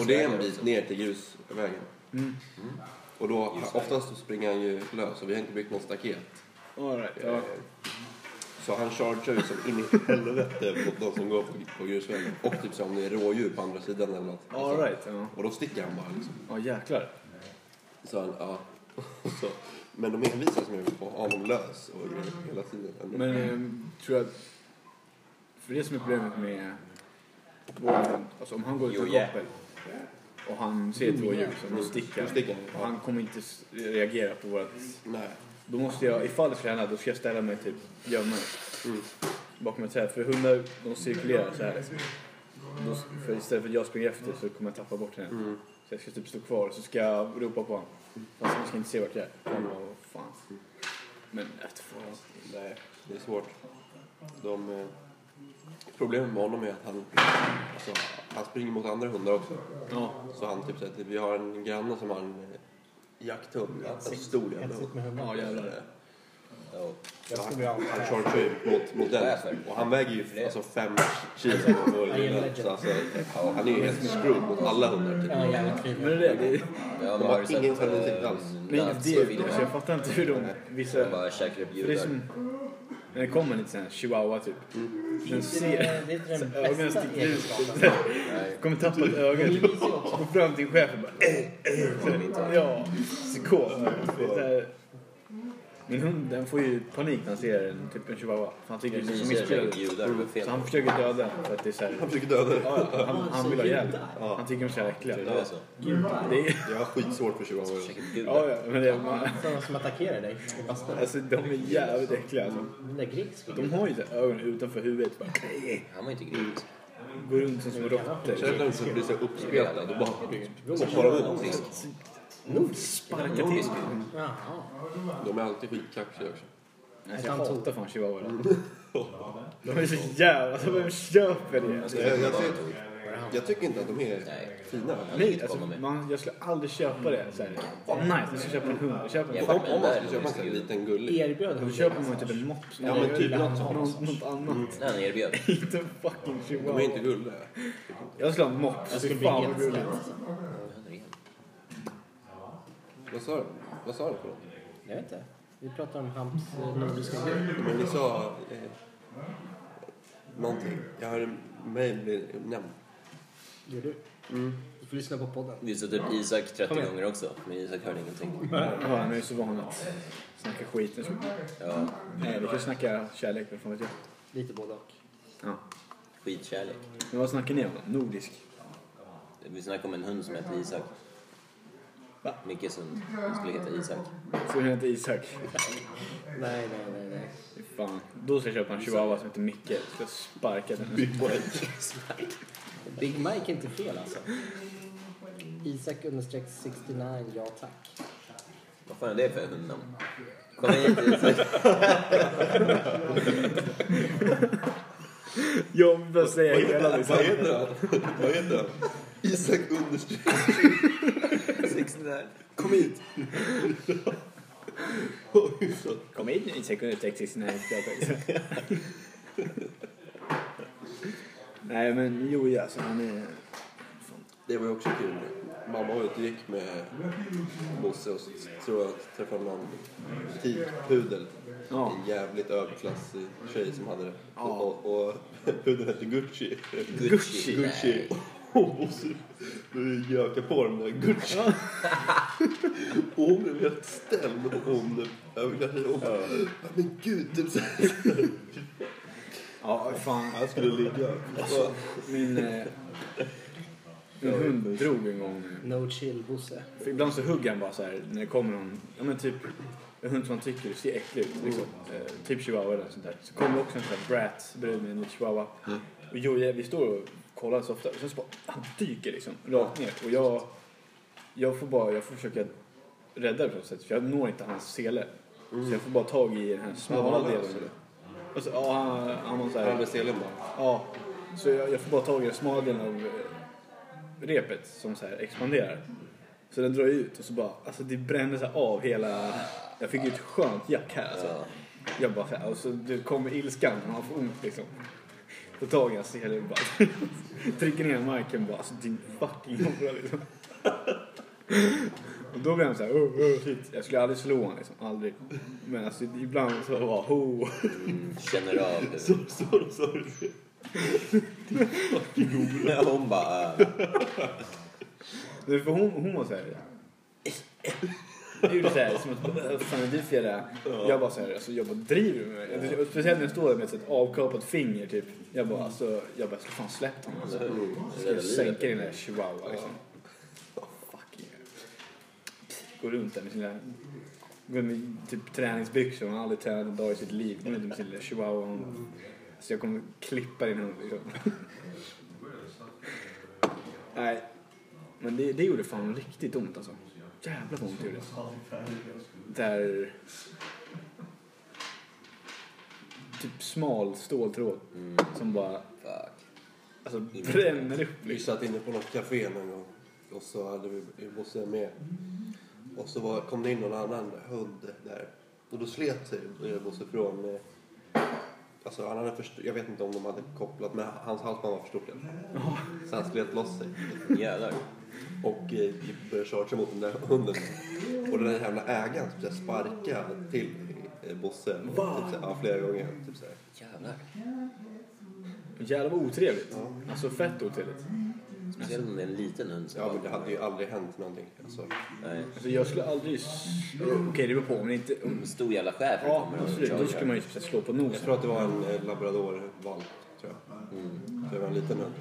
Speaker 5: och det är en bit ner till grusvägen. Mm. Och då, oftast så springer han ju lös och vi har inte byggt någon staket.
Speaker 1: All right, ja.
Speaker 5: Så han chargear ju som in i helvete mot de som går på, på grusvägen. Och typ så om det är rådjur på andra sidan eller något.
Speaker 1: All right, ja.
Speaker 5: Och då sticker han bara liksom.
Speaker 1: Ja, jäklar.
Speaker 5: Så han, ja. Så, men de envisas med att få honom lös och grejer hela tiden. Ändå.
Speaker 1: Men ehm, tror jag... För det som är problemet med vår hund, alltså om han går ut
Speaker 4: Jo,
Speaker 1: ur
Speaker 4: yeah.
Speaker 1: koppel och han ser ett rådjur som då sticker
Speaker 5: Då Mm. sticker han,
Speaker 1: han.
Speaker 5: ja.
Speaker 1: och han kommer inte s- reagera på vårt...
Speaker 5: Nej.
Speaker 1: Då måste jag, ifall det skulle hända, då ska jag ställa mig typ gömma mig
Speaker 5: Mm.
Speaker 1: bakom ett träd. För hundar, de cirkulerar så här. Då, för istället för att jag springer efter så kommer jag tappa bort henne.
Speaker 5: Mm.
Speaker 1: Så jag ska typ stå kvar och så ska jag ropa på honom. Fast han ska inte se vart jag är. Han bara, vad fan. Men att fan.
Speaker 5: Nej, det är svårt. De, eh, problemet med honom är att han, alltså, han springer mot andra hundar också.
Speaker 1: Ja,
Speaker 5: Så han typ säger att vi har en granne som har en eh, jakthund. En stor jävla hund.
Speaker 2: Hetsigt med hundar.
Speaker 1: ja jävlar.
Speaker 4: Ja.
Speaker 2: Jag skulle vilja ha en
Speaker 5: Han
Speaker 2: där.
Speaker 5: chargear ju mot, mot den. Och han väger ju alltså fem kilo. Och, så alltså, ja, han är ju helt screwed mot alla hundar. Typ.
Speaker 2: Ja, jävligt fin.
Speaker 1: Men det är det, det
Speaker 4: Ja,
Speaker 5: De
Speaker 4: men
Speaker 5: har
Speaker 4: du
Speaker 5: ingen
Speaker 4: sett,
Speaker 5: självinsikt
Speaker 4: eh,
Speaker 5: alls.
Speaker 1: Nej, inte det.
Speaker 4: Nazi-filmer?
Speaker 1: Alltså, jag fattar inte hur de... Vissa...
Speaker 4: De bara käkar upp
Speaker 1: För det är
Speaker 4: judar.
Speaker 1: som... När det kommer en liten sån här chihuahua typ. Den
Speaker 2: Det
Speaker 1: ser...
Speaker 2: är inte den
Speaker 1: Ögonen
Speaker 2: bästa
Speaker 1: sticker ut.
Speaker 2: egenskapen.
Speaker 1: Kommer tappa ett öga.
Speaker 2: Men det
Speaker 1: Typ.
Speaker 2: visar ju också
Speaker 1: Går fram till chefen bara... "Eh, eh", så här. Ja, psykos. Det är så här- Min hund den får ju panik när han ser en, typ en chihuahua. För han tycker det är så
Speaker 4: Ni ser
Speaker 1: mycket.
Speaker 4: säkert judar, det är fel.
Speaker 1: Så han försöker döda den för att det är så här,
Speaker 5: Han försöker döda dig.
Speaker 1: ja, ja, han, han vill ha hjälp. Han tycker de är så jävla äckliga.
Speaker 4: Det är så.
Speaker 1: Det är,
Speaker 5: Jag har skitsvårt för chihuahuor.
Speaker 4: Käkar upp judar.
Speaker 1: ja, ja, men det är, man,
Speaker 2: sådana som attackerar dig. Det bastar.
Speaker 1: alltså, de är jävligt äckliga. Alltså.
Speaker 2: Den där Grix fick
Speaker 1: De har ju så här ögonen utanför huvudet. Bara,
Speaker 4: Han var inte grekisk.
Speaker 1: går runt som små råttor.
Speaker 5: Känner den som blir så uppspelad och bara så hoppar de ut.
Speaker 1: Sparkar till.
Speaker 2: Jaha.
Speaker 5: De är alltid skitkaxiga också.
Speaker 1: Alltså, jag hatar fan chihuahuor. De är så jävla... Alltså, vem köper det?
Speaker 5: Jag, jag, ser- jag tycker inte att de är
Speaker 4: Nej.
Speaker 5: fina.
Speaker 1: Nej, alltså, man, jag skulle aldrig köpa det. Så här.
Speaker 5: Mm.
Speaker 1: Åh, nice, jag ska köpa en hund. Jag köper en
Speaker 5: Om,
Speaker 1: hund.
Speaker 5: om man skulle köpa en sån här liten gullig.
Speaker 2: Erbjöd
Speaker 1: Då
Speaker 2: han
Speaker 1: köper man typ en mops.
Speaker 5: Ja, men typ något sånt.
Speaker 1: något, något annat.
Speaker 4: Nej, han erbjöd.
Speaker 1: Inte en fucking
Speaker 5: De är inte
Speaker 1: chihuahua.
Speaker 5: gulliga.
Speaker 1: Jag skulle ha en mops.
Speaker 2: Jag
Speaker 1: Fy
Speaker 2: skulle bli
Speaker 1: fan vad
Speaker 2: helt
Speaker 1: gulligt.
Speaker 2: slätt.
Speaker 5: Vad sa du? Vad sa du för något?
Speaker 2: Jag vet inte. Vi pratar om Hamps eh, nordiska grej.
Speaker 5: Men ni sa eh, någonting. Jag hörde mig bli nämnd.
Speaker 2: Gör du? Du får lyssna på podden.
Speaker 4: Vi sa typ Isak 30
Speaker 2: Kom igen.
Speaker 4: gånger också, men Isak hörde ingenting.
Speaker 5: Mm.
Speaker 1: Ja, han är ju så van att snacka skit. Nu ska-
Speaker 4: Ja,
Speaker 1: Nej, vi kan snacka kärlek. Vad fan vet jag?
Speaker 2: Lite både och.
Speaker 1: Ja.
Speaker 4: skitkärlek.
Speaker 1: Men vad snackar ni om då? Nordisk?
Speaker 4: Vi snackade om en hund som hette Isak.
Speaker 1: Va?
Speaker 4: Mickes hund. Han skulle heta Isak.
Speaker 1: Så hon heter Isak.
Speaker 2: Nej, nej, nej, nej.
Speaker 1: Fy Fan. Då ska jag köpa en chihuahua som heter Micke. Jag ska sparka den.
Speaker 2: Big Mike är inte fel alltså. Isak understreck 69, ja tack.
Speaker 4: Vad fan är det för hundnamn? Kom hit Isak.
Speaker 1: Jag vill bara säga hela
Speaker 5: Vad
Speaker 1: liksom.
Speaker 5: heter han? Vad heter han? Isak understreck.
Speaker 4: 69.
Speaker 5: Kom hit!
Speaker 1: Kom hit nu Isak under text 69. Nej, men Joey alltså, han är...
Speaker 5: Det var ju också kul. Mamma var ute och gick med Bosse och så tror jag att träffade någon tikpudel.
Speaker 1: Ja.
Speaker 5: En jävligt överklassig tjej som hade det.
Speaker 1: Ja.
Speaker 5: Och, och, och pudeln hette Gucci.
Speaker 4: Gucci.
Speaker 5: Gucci. Och Bosse du gökade på den där Gucci. och hon blev helt ställd hon överklassade. Hon bara, men gud. Typ så här.
Speaker 1: Ja, fan.
Speaker 5: Han skulle ligga. Så,
Speaker 1: Min, eh, min hund drog en gång.
Speaker 2: No chill Bosse.
Speaker 1: För ibland så hugger han bara så här när det kommer någon, ja men typ en hund som man tycker ser äcklig ut. Liksom, eh, typ chihuahua eller något sånt där. Så kommer också en sån här brat bredvid mig, en chihuahua. Och Joje, vi står och kollar så ofta. Och sen så bara, han dyker liksom rakt ner. Och jag, jag får bara, jag får försöka rädda det på något sätt. För jag når inte hans sele. Så jag får bara tag i den här
Speaker 5: Ja,
Speaker 1: smala
Speaker 5: han
Speaker 1: delen.
Speaker 5: löser det.
Speaker 1: Och så, ja, han, han har så här,
Speaker 5: han hade selen bara.
Speaker 1: Ja, så jag, jag får bara tag i den smala delen av eh, repet som så här expanderar. Så den drar ju ut och så bara, alltså det brände så här av hela... Jag fick ju ett skönt jack här alltså. Jag bara så här, och så det kommer ilskan när man får ont liksom. På tag i hans hela och bara trycker ner marken bara, alltså din fucking hora liksom. Och då blev han såhär, oh, oh, shit. Jag skulle aldrig slå honom liksom, aldrig. Men alltså ibland så bara, oh. ho.
Speaker 4: Mm, känner av det.
Speaker 5: Så, så, så, så.
Speaker 4: Ja, Hon bara... äh,
Speaker 1: Nej, för hon, hon var såhär... eh." Gjorde såhär, som att "Vad fan är du för jävla... Jag bara såhär, alltså jag bara driver med mig. Och Speciellt när jag står där med ett sånt avkapat finger typ. Jag bara alltså, jag bara, fan släpp honom alltså. Ska
Speaker 4: rädda
Speaker 1: jag sänka
Speaker 4: livet.
Speaker 1: din där chihuahua liksom. Fucking hell. Går runt där med sina... Går med typ träningsbyxor, hon har aldrig tränat en dag i sitt liv. Går runt med sin lilla chihuahua. Hon... Alltså jag kommer klippa din hund liksom. Nej, men det, det gjorde fan riktigt ont alltså. Jävlar vad ont det gjorde. Där... Typ smal ståltråd som bara
Speaker 4: Fuck.
Speaker 1: alltså, bränner upp
Speaker 5: Vi
Speaker 1: liksom.
Speaker 5: satt inne på något café någon gång och så hade vi Bosse med. Och så var, kom det in någon annan hund där. Och då slet sig Bosse från... eh, Alltså han hade först, jag vet inte om de hade kopplat men hans halsband var förstorat. Så han slet loss sig.
Speaker 4: Jävlar.
Speaker 5: Och eh, började charge mot den där hunden. Och den där jävla ägaren typ, så här sparkade till eh, Bosse. Typ, så här, ja, flera gånger. Typ, så här.
Speaker 4: Jävlar.
Speaker 1: Jävlar vad otrevligt. Alltså fett otrevligt.
Speaker 4: Speciellt om det är en liten hund. som
Speaker 5: Ja men det
Speaker 4: bara-
Speaker 5: hade ju aldrig hänt någonting. Alltså,
Speaker 4: Nej.
Speaker 1: Alltså jag skulle aldrig... s- Okej det beror på om det inte... Om...
Speaker 4: En stor jävla schäfer
Speaker 1: Ja
Speaker 4: kommer och
Speaker 1: absolut, då
Speaker 4: chargear.
Speaker 1: skulle man ju typ så här slå på nosen.
Speaker 5: Jag tror att det var en eh, labradorvalp, tror jag. Så det var en liten hund.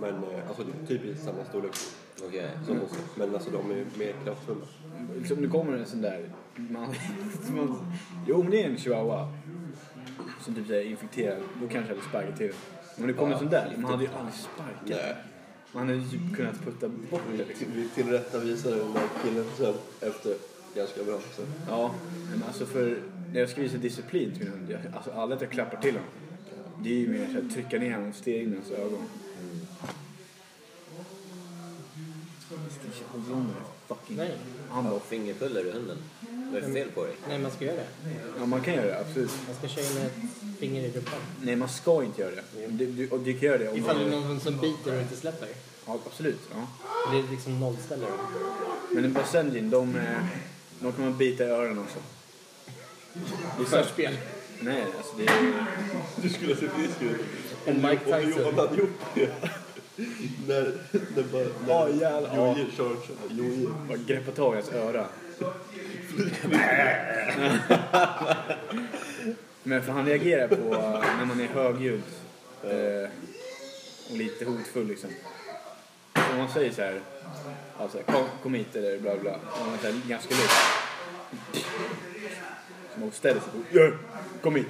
Speaker 5: Men eh, alltså det är typ i samma storlek
Speaker 4: Okej.
Speaker 5: som Bosse. Men alltså de är ju mer kraftfulla.
Speaker 1: Liksom, det kommer en sån där... Man, man, jo, men det är en chihuahua som typ är infekterad. Då kanske jag hade sparkat till den. Men det kommer en sån där. Man hade ju aldrig sparkat.
Speaker 5: Nej.
Speaker 1: Man hade ju typ kunnat putta bort det.
Speaker 5: Mm. Vi-
Speaker 1: Liksom.
Speaker 5: Vi tillrättavisade den där killen sen efter ganska bra. Så.
Speaker 1: Ja, men alltså för... När jag ska visa disciplin till min hund, jag, alltså aldrig att jag klappar till honom. Det är ju mer att trycka ner honom och stirra in i hans ögon. Stig Holmberg, fucking...
Speaker 2: Nej.
Speaker 1: Han bara,
Speaker 4: Fingerpuller i hunden. Vad är det för fel på dig?
Speaker 2: Nej, man ska göra det.
Speaker 1: ja man kan göra det, absolut.
Speaker 2: Man ska köra in ett finger i rumpan.
Speaker 1: Nej, man ska inte göra det. Du, du, och du kan göra det om
Speaker 2: Ifall det är
Speaker 1: man...
Speaker 2: någon som biter och inte släpper.
Speaker 1: Ja, absolut. Ja.
Speaker 2: Det är liksom nollställer dem.
Speaker 1: Men en Basenjin, de, eh, de kan man bita i öronen också. Det är så-
Speaker 2: Förspel.
Speaker 1: Nej, alltså det är...
Speaker 5: Du skulle ha sett frisk ut.
Speaker 2: Och Mike
Speaker 5: Om du om
Speaker 2: Tyson.
Speaker 5: du hade gjort det. när, när bara... När
Speaker 1: Åh, jävlar, ja.
Speaker 5: Jojje kör så här. Jojje.
Speaker 1: Bara greppa tag i hans öra. Men för han reagerar på eh, när man är högljudd eh, och lite hotfull liksom. Om man säger så här, alltså, kom, kom hit eller bla bla. Och man är så här, ganska lugn. Så man ställer sig på, "Ja, kom hit.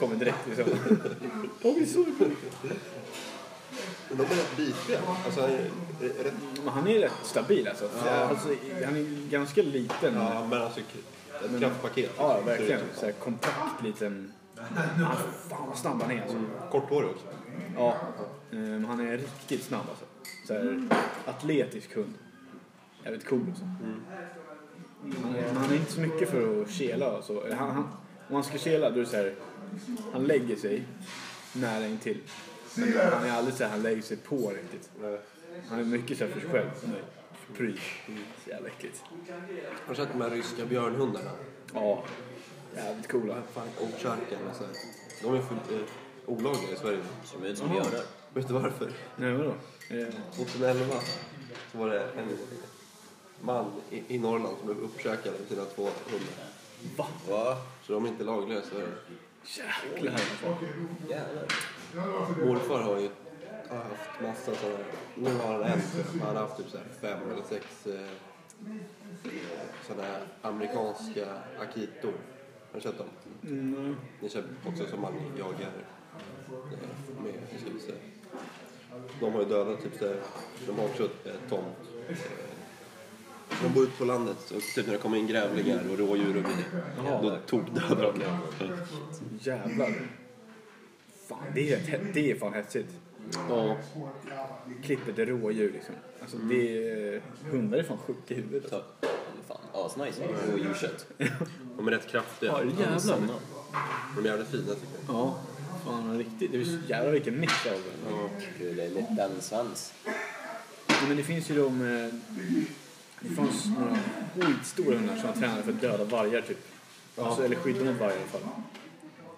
Speaker 1: Kommer direkt liksom. Har vi så på?
Speaker 5: Men de är rätt bitiga. Alltså han är rätt...
Speaker 1: Men han är rätt stabil alltså. alltså han är ganska liten.
Speaker 5: Ja men alltså ett kraftpaket.
Speaker 1: Ja, verkligen. Så här kompakt liten... Ah, fan vad snabb han är alltså.
Speaker 5: Korthårig också.
Speaker 1: Ja, ehm, han är riktigt snabb alltså. Så här, atletisk hund. Jävligt cool alltså. Han, är, men han är inte så mycket för att kela och så. Eller Han, han, om han ska kela då är det så här, han lägger sig nära intill.
Speaker 3: See
Speaker 1: Men Han
Speaker 3: that?
Speaker 1: är aldrig så här, han lägger sig på riktigt. Han är mycket så här för sig själv. Pryl. Så jävla äckligt.
Speaker 5: Har du sett de här ryska björnhundarna?
Speaker 1: Ja. Jävligt coola.
Speaker 5: Fan, Ovtjarkan och så här. De är fullt eh, olagliga i Sverige.
Speaker 4: Som ut som björnar.
Speaker 5: Vet du varför?
Speaker 1: Nej vadå? Eh,
Speaker 5: 2011 så var det en man i, i Norrland som blev uppkäkad av sina två hundar.
Speaker 4: Va?
Speaker 5: Så de är inte lagliga i Sverige.
Speaker 1: Jäklar.
Speaker 4: Jävlar.
Speaker 5: Morfar har ju har haft massa sådana här. Nu har han en. men Han har haft typ så här fem eller sex eh, sådana här amerikanska akitor. Har du sett dem?
Speaker 1: Mm,
Speaker 5: Ni köper också som man jagar eh, med, hur ska vi säga. De har ju dödat typ så här. De har också ett eh, tomt. eh, De bor ute på landet så typ när det kommer in grävlingar och rådjur och grejer. Då tokdödar de dem.
Speaker 1: jävlar. Fan, det är, rätt hä- det är fan häftigt.
Speaker 5: Ja, Mm.
Speaker 1: Klipper till rådjur liksom. Alltså det är... Hundar är fan sjuka i huvudet.
Speaker 4: Ta- Fan, asnice. Rådjurskött.
Speaker 5: de är rätt kraftiga.
Speaker 1: Ja, jävlar.
Speaker 5: De är jävligt fina tycker jag.
Speaker 1: Ja. Fan riktigt. Det är så jävla vilken mix av det.
Speaker 4: Kul eller den svans.
Speaker 1: Ja, men det finns ju de... eh, Det fanns några skitstora hundar som var tränade för att döda vargar typ. Alltså, eller skydda mot vargar i alla fall.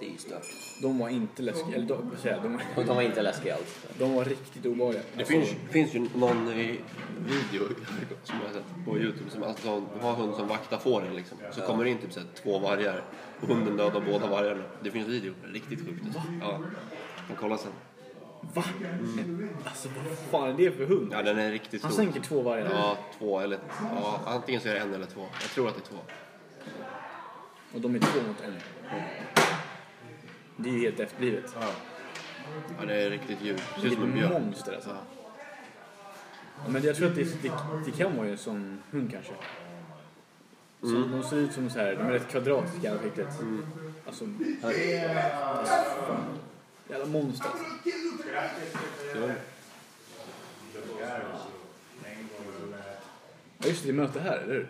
Speaker 4: Det är ju stört.
Speaker 1: De var inte läskiga. Eller de, vad säger jag, de,
Speaker 4: Och de var inte läskiga alls.
Speaker 1: de var riktigt obehagliga.
Speaker 5: Det finns, finns ju någon eh, video som jag har sett på Youtube som alltså, har hund som vaktar fåren liksom. Så kommer det in typ så här, två vargar och hunden dödar båda vargarna. Det finns video, riktigt sjukt. Alltså. Ja, kan kolla sen.
Speaker 1: Va? Alltså vad fan är det för hund?
Speaker 5: Ja, den är riktigt
Speaker 1: Han
Speaker 5: stor.
Speaker 1: sänker två vargar.
Speaker 5: Ja, två eller ja, antingen så är det en eller två. Jag tror att det är två.
Speaker 1: Och de är två mot en. Det är ju helt efterblivet.
Speaker 5: Ja, det är riktigt djur. Det ser ut
Speaker 1: Vilket
Speaker 5: som en björn.
Speaker 1: monster alltså. Ja, men jag tror att det, det, det kan vara ju en sån hund kanske. Så
Speaker 5: Mm.
Speaker 1: De ser ut som så här, de är rätt kvadratiska i ansiktet. Alltså, här. alltså, fan. Jävla monster alltså. Ja just det, det är möte här, eller hur?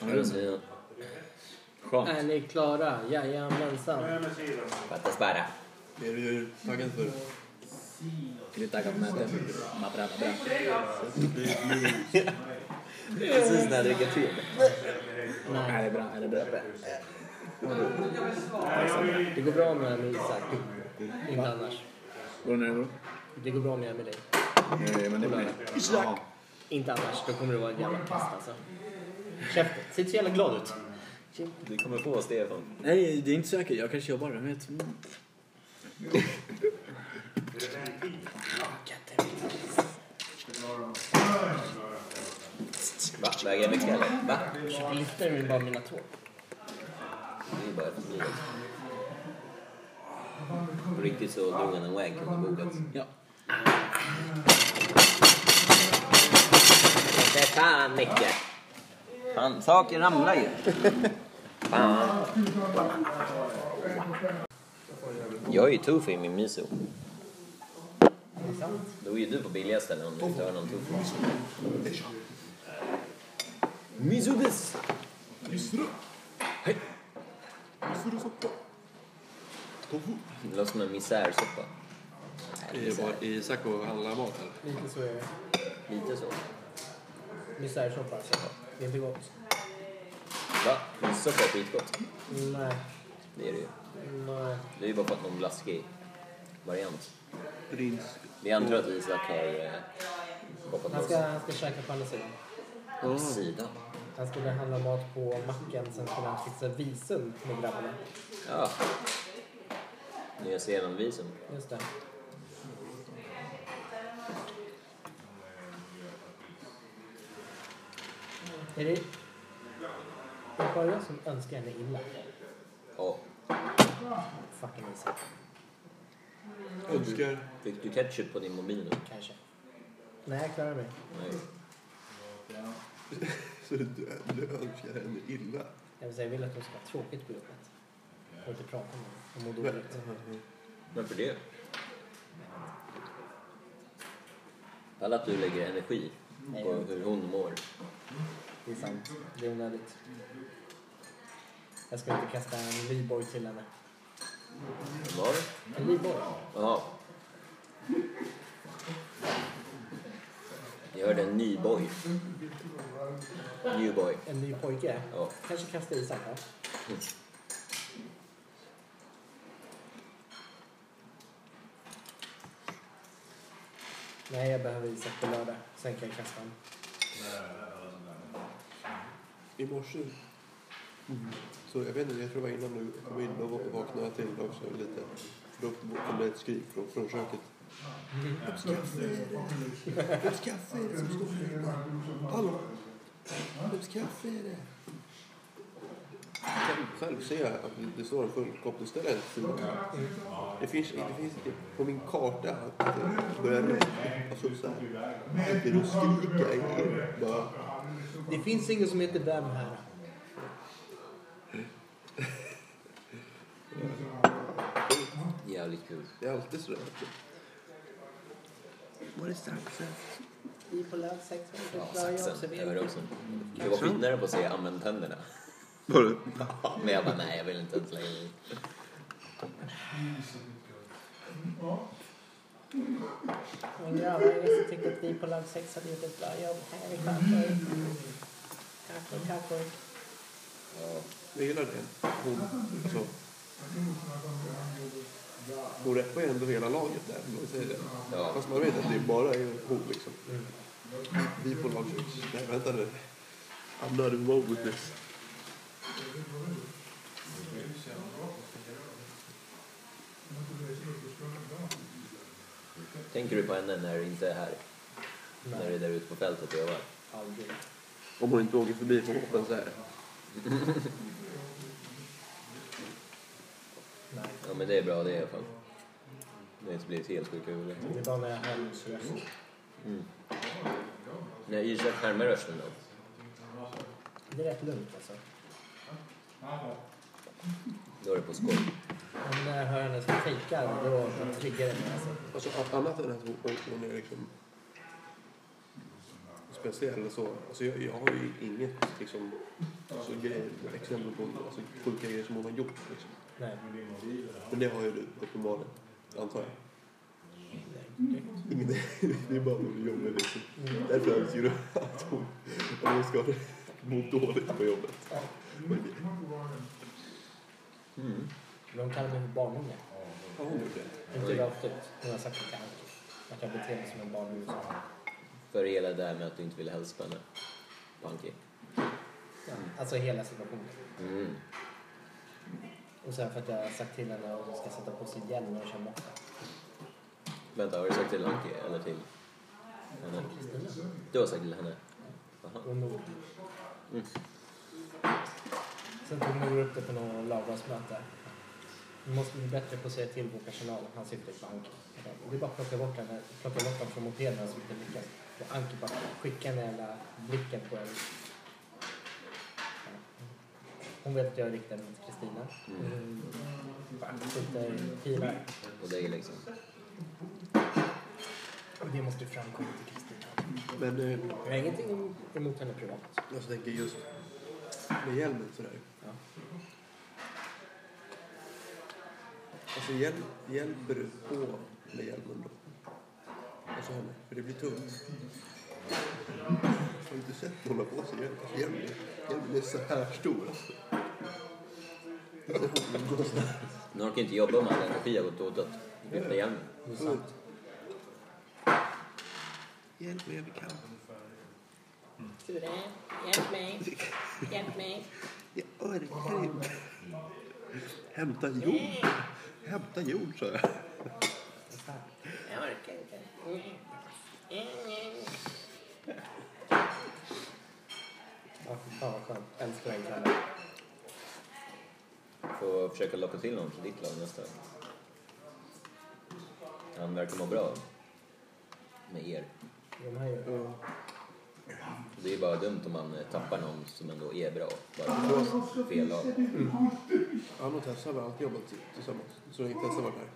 Speaker 1: Ja, det är det. Skönt.
Speaker 2: Är ni klara? Jajamensan.
Speaker 4: Fattas bara.
Speaker 5: Är du taggad för det?
Speaker 1: Är det taggat möte? Ma bra, ma bra.
Speaker 4: Precis när jag dricker te.
Speaker 1: Är det bra? Är det bra?
Speaker 2: Det går bra med mig Isak. Inte annars.
Speaker 1: Går det nu?
Speaker 2: Det går bra med mig dig.
Speaker 1: Nej, men det blir... Ja.
Speaker 2: Inte annars. Då kommer det vara en jävla pest alltså. Käften. Ser inte så jävla glad ut.
Speaker 4: Du kommer på Stefan.
Speaker 1: Nej, det är inte säkert. Jag kanske jobbar, vem vet? Mm.
Speaker 4: Va? Väger jag mycket eller? Va?
Speaker 2: Försöker lyfta med bara mina tår.
Speaker 4: Det är bara för livet. På riktigt så drog han en wank under bordet.
Speaker 1: Ja.
Speaker 4: Inte fan Micke! Fan, saker ramlar ju. Fan. Jag är ju tuff i min miso. Då är ju du på billiga ställen om du inte har någon tuff. Miso bis! Det låter som en misärsoppa.
Speaker 5: Är det bara Isak och handlar mat eller?
Speaker 2: Lite så är det.
Speaker 4: Lite så.
Speaker 2: Misärsoppa alltså. Det är inte gott.
Speaker 4: Va? Missoppa är skitgott.
Speaker 2: Nej.
Speaker 4: Det är det ju.
Speaker 2: Nej.
Speaker 4: Det är ju bara för att någon blaskig variant. Vi antar att Isak har eh, hoppat
Speaker 2: Han
Speaker 4: loss.
Speaker 2: ska, han ska käka på andra sidan.
Speaker 4: Sidan.
Speaker 2: Han skulle handla mat på macken. Sen skulle han fixa visum med grabbarna.
Speaker 4: Ja. Nya Zeeland-visum.
Speaker 2: Just det. Är det... Är det bara jag som önskar henne illa?
Speaker 4: Ja.
Speaker 2: Fucking Isak,
Speaker 5: Önskar.
Speaker 4: Fick du ketchup på din mobil nu?
Speaker 2: kanske. Nej, jag klarar mig.
Speaker 4: Nej.
Speaker 5: Så du, du önskar henne illa?
Speaker 2: Jag vill säga, jag vill att hon ska ha tråkigt på jobbet. Och inte prata med henne. Hon mår dåligt.
Speaker 4: Varför det? Alla att du lägger energi på hur hon mår.
Speaker 2: Det är sant. Det är onödigt. Jag ska inte kasta en livboj till henne.
Speaker 4: Vad var det?
Speaker 2: En livboj?
Speaker 4: Jaha. Jag hörde en ny boy. New boy.
Speaker 2: En ny pojke.
Speaker 4: Ja.
Speaker 2: Kanske kasta i Sacka. Nej, jag behöver Isak på lördag. Sen kan jag kasta honom.
Speaker 5: I morse. Så jag vet inte, jag tror det var innan nu. Jag kom in och vaknade till också lite. För då kom det ett skrik från, från köket. Vems kaffe är det? Vems kaffe är det som står här inne? Hallå? Vems kaffe är det? Själv, själv ser jag att det- det står en full kopp. Det står en sida. Det finns, det finns inte på min karta att eh, börja alltså, så här. Det är att skrika i er. Bara,
Speaker 2: Det finns ingen som heter Vem här.
Speaker 4: Jävligt kul.
Speaker 5: Det är alltid sådär. Var det saxen?
Speaker 2: Bipolär sex.
Speaker 4: Ja, saxen. Jag hörde också. Jag var skitnära på att säga använd tänderna.
Speaker 5: Var det?
Speaker 4: Men jag bara, nej jag vill inte ens lägga i.
Speaker 2: Hon grabbar, jag som tyckte att bipolär sex hade gjort ett bra jobb. Här är kakor. Kakor, kakor.
Speaker 5: Jag gillar det. Hon, alltså, hon reppar ju ändå hela laget där. om Man säger det.
Speaker 4: Ja.
Speaker 5: Fast man vet att det bara är hon liksom. Vi på lag Nej, vänta nu. I'm not involved with this.
Speaker 4: Tänker du på henne när du inte är här? När du är där ute på fältet och övar?
Speaker 2: Aldrig.
Speaker 5: Om hon inte åker förbi på hoppen så här.
Speaker 2: Nej.
Speaker 4: Ja men det är bra det i alla fall. Det har inte blivit helt sjuk i huvudet.
Speaker 2: Det var när jag hör hennes röst.
Speaker 4: När Isak härmar rösten då?
Speaker 2: Det är rätt lugnt alltså.
Speaker 4: Då är det på skoj.
Speaker 2: Men när jag hör hennes fejkar, då då triggar det mig alltså.
Speaker 5: Alltså a- annat än att hon, hon är liksom speciell eller så. Alltså jag, jag har ju inget liksom, alltså, grejer, exempel på alltså, sjuka grejer som hon har gjort. Liksom.
Speaker 2: Nej.
Speaker 5: Men det har ju du uppenbarligen, antar jag. Inget, det är bara hon jobbar liksom. Därför önskar du att hon, att hon ska må dåligt på jobbet.
Speaker 2: Men hon kallar mig för barnunge.
Speaker 5: Ja, hon gjorde det.
Speaker 2: Inte rakt ut. Hon har sagt det till Anki. Att jag beter mig som en barnunge.
Speaker 4: För hela det här med att du inte ville hälsa på henne. Punky.
Speaker 2: Ja. Alltså hela situationen.
Speaker 4: Mm.
Speaker 2: Och sen för att jag har sagt till henne att hon ska sätta på sig hjälm när hon kör moppa.
Speaker 4: Vänta, har du sagt till Anki eller till henne? Du har sagt till henne? Aha.
Speaker 2: Och Nor.
Speaker 4: Mm.
Speaker 2: Sen tog Nor upp det på någon lagdagsmöte. Vi måste bli bättre på att säga till vår personal att han sitter på Anki. Det är bara att plocka bort henne, plocka bort honom från mopeden så vi inte lyckas. Och Anki bara skickar den jävla blicken på en. Hon vet att jag riktar mig mot Kristina. Mm. Bara skjuter pilar.
Speaker 4: Och dig liksom.
Speaker 2: Och det måste framkomma till Kristina.
Speaker 5: Men eh,
Speaker 2: Jag har ingenting emot henne privat.
Speaker 5: jag tänker just med hjälmen sådär.
Speaker 2: Ja.
Speaker 5: Alltså hjälp, hjälper du på med hjälmen då? Alltså henne, för det blir tungt. Har du inte sett någon ha på sig hjälm? Alltså, hjälmen, hjälmen är så här stor alltså. Hon går så här.
Speaker 4: Nu orkar inte jobba med all energi har gått åt att lyfta hjälmen.
Speaker 2: Det är sant.
Speaker 5: Hjälp mig, jag kan.
Speaker 7: Ture, hjälp mig. Hjälp mig.
Speaker 5: Jag orkar inte. Hämta jord. Hämta jord, sa jag.
Speaker 7: Jag orkar inte. Mm. Mm.
Speaker 2: Ja, fy fan vad skönt. Älskar den kvällen.
Speaker 4: Får försöka locka till någon till ditt lag nästa vecka. Han verkar må bra. Med er.
Speaker 2: De här gör
Speaker 5: Ja.
Speaker 4: Det är bara dumt om man eh, tappar någon som ändå är bra. Bara för att fel lag.
Speaker 5: Han och Tessa har väl alltid jobbat tillsammans, så länge Tessa var här.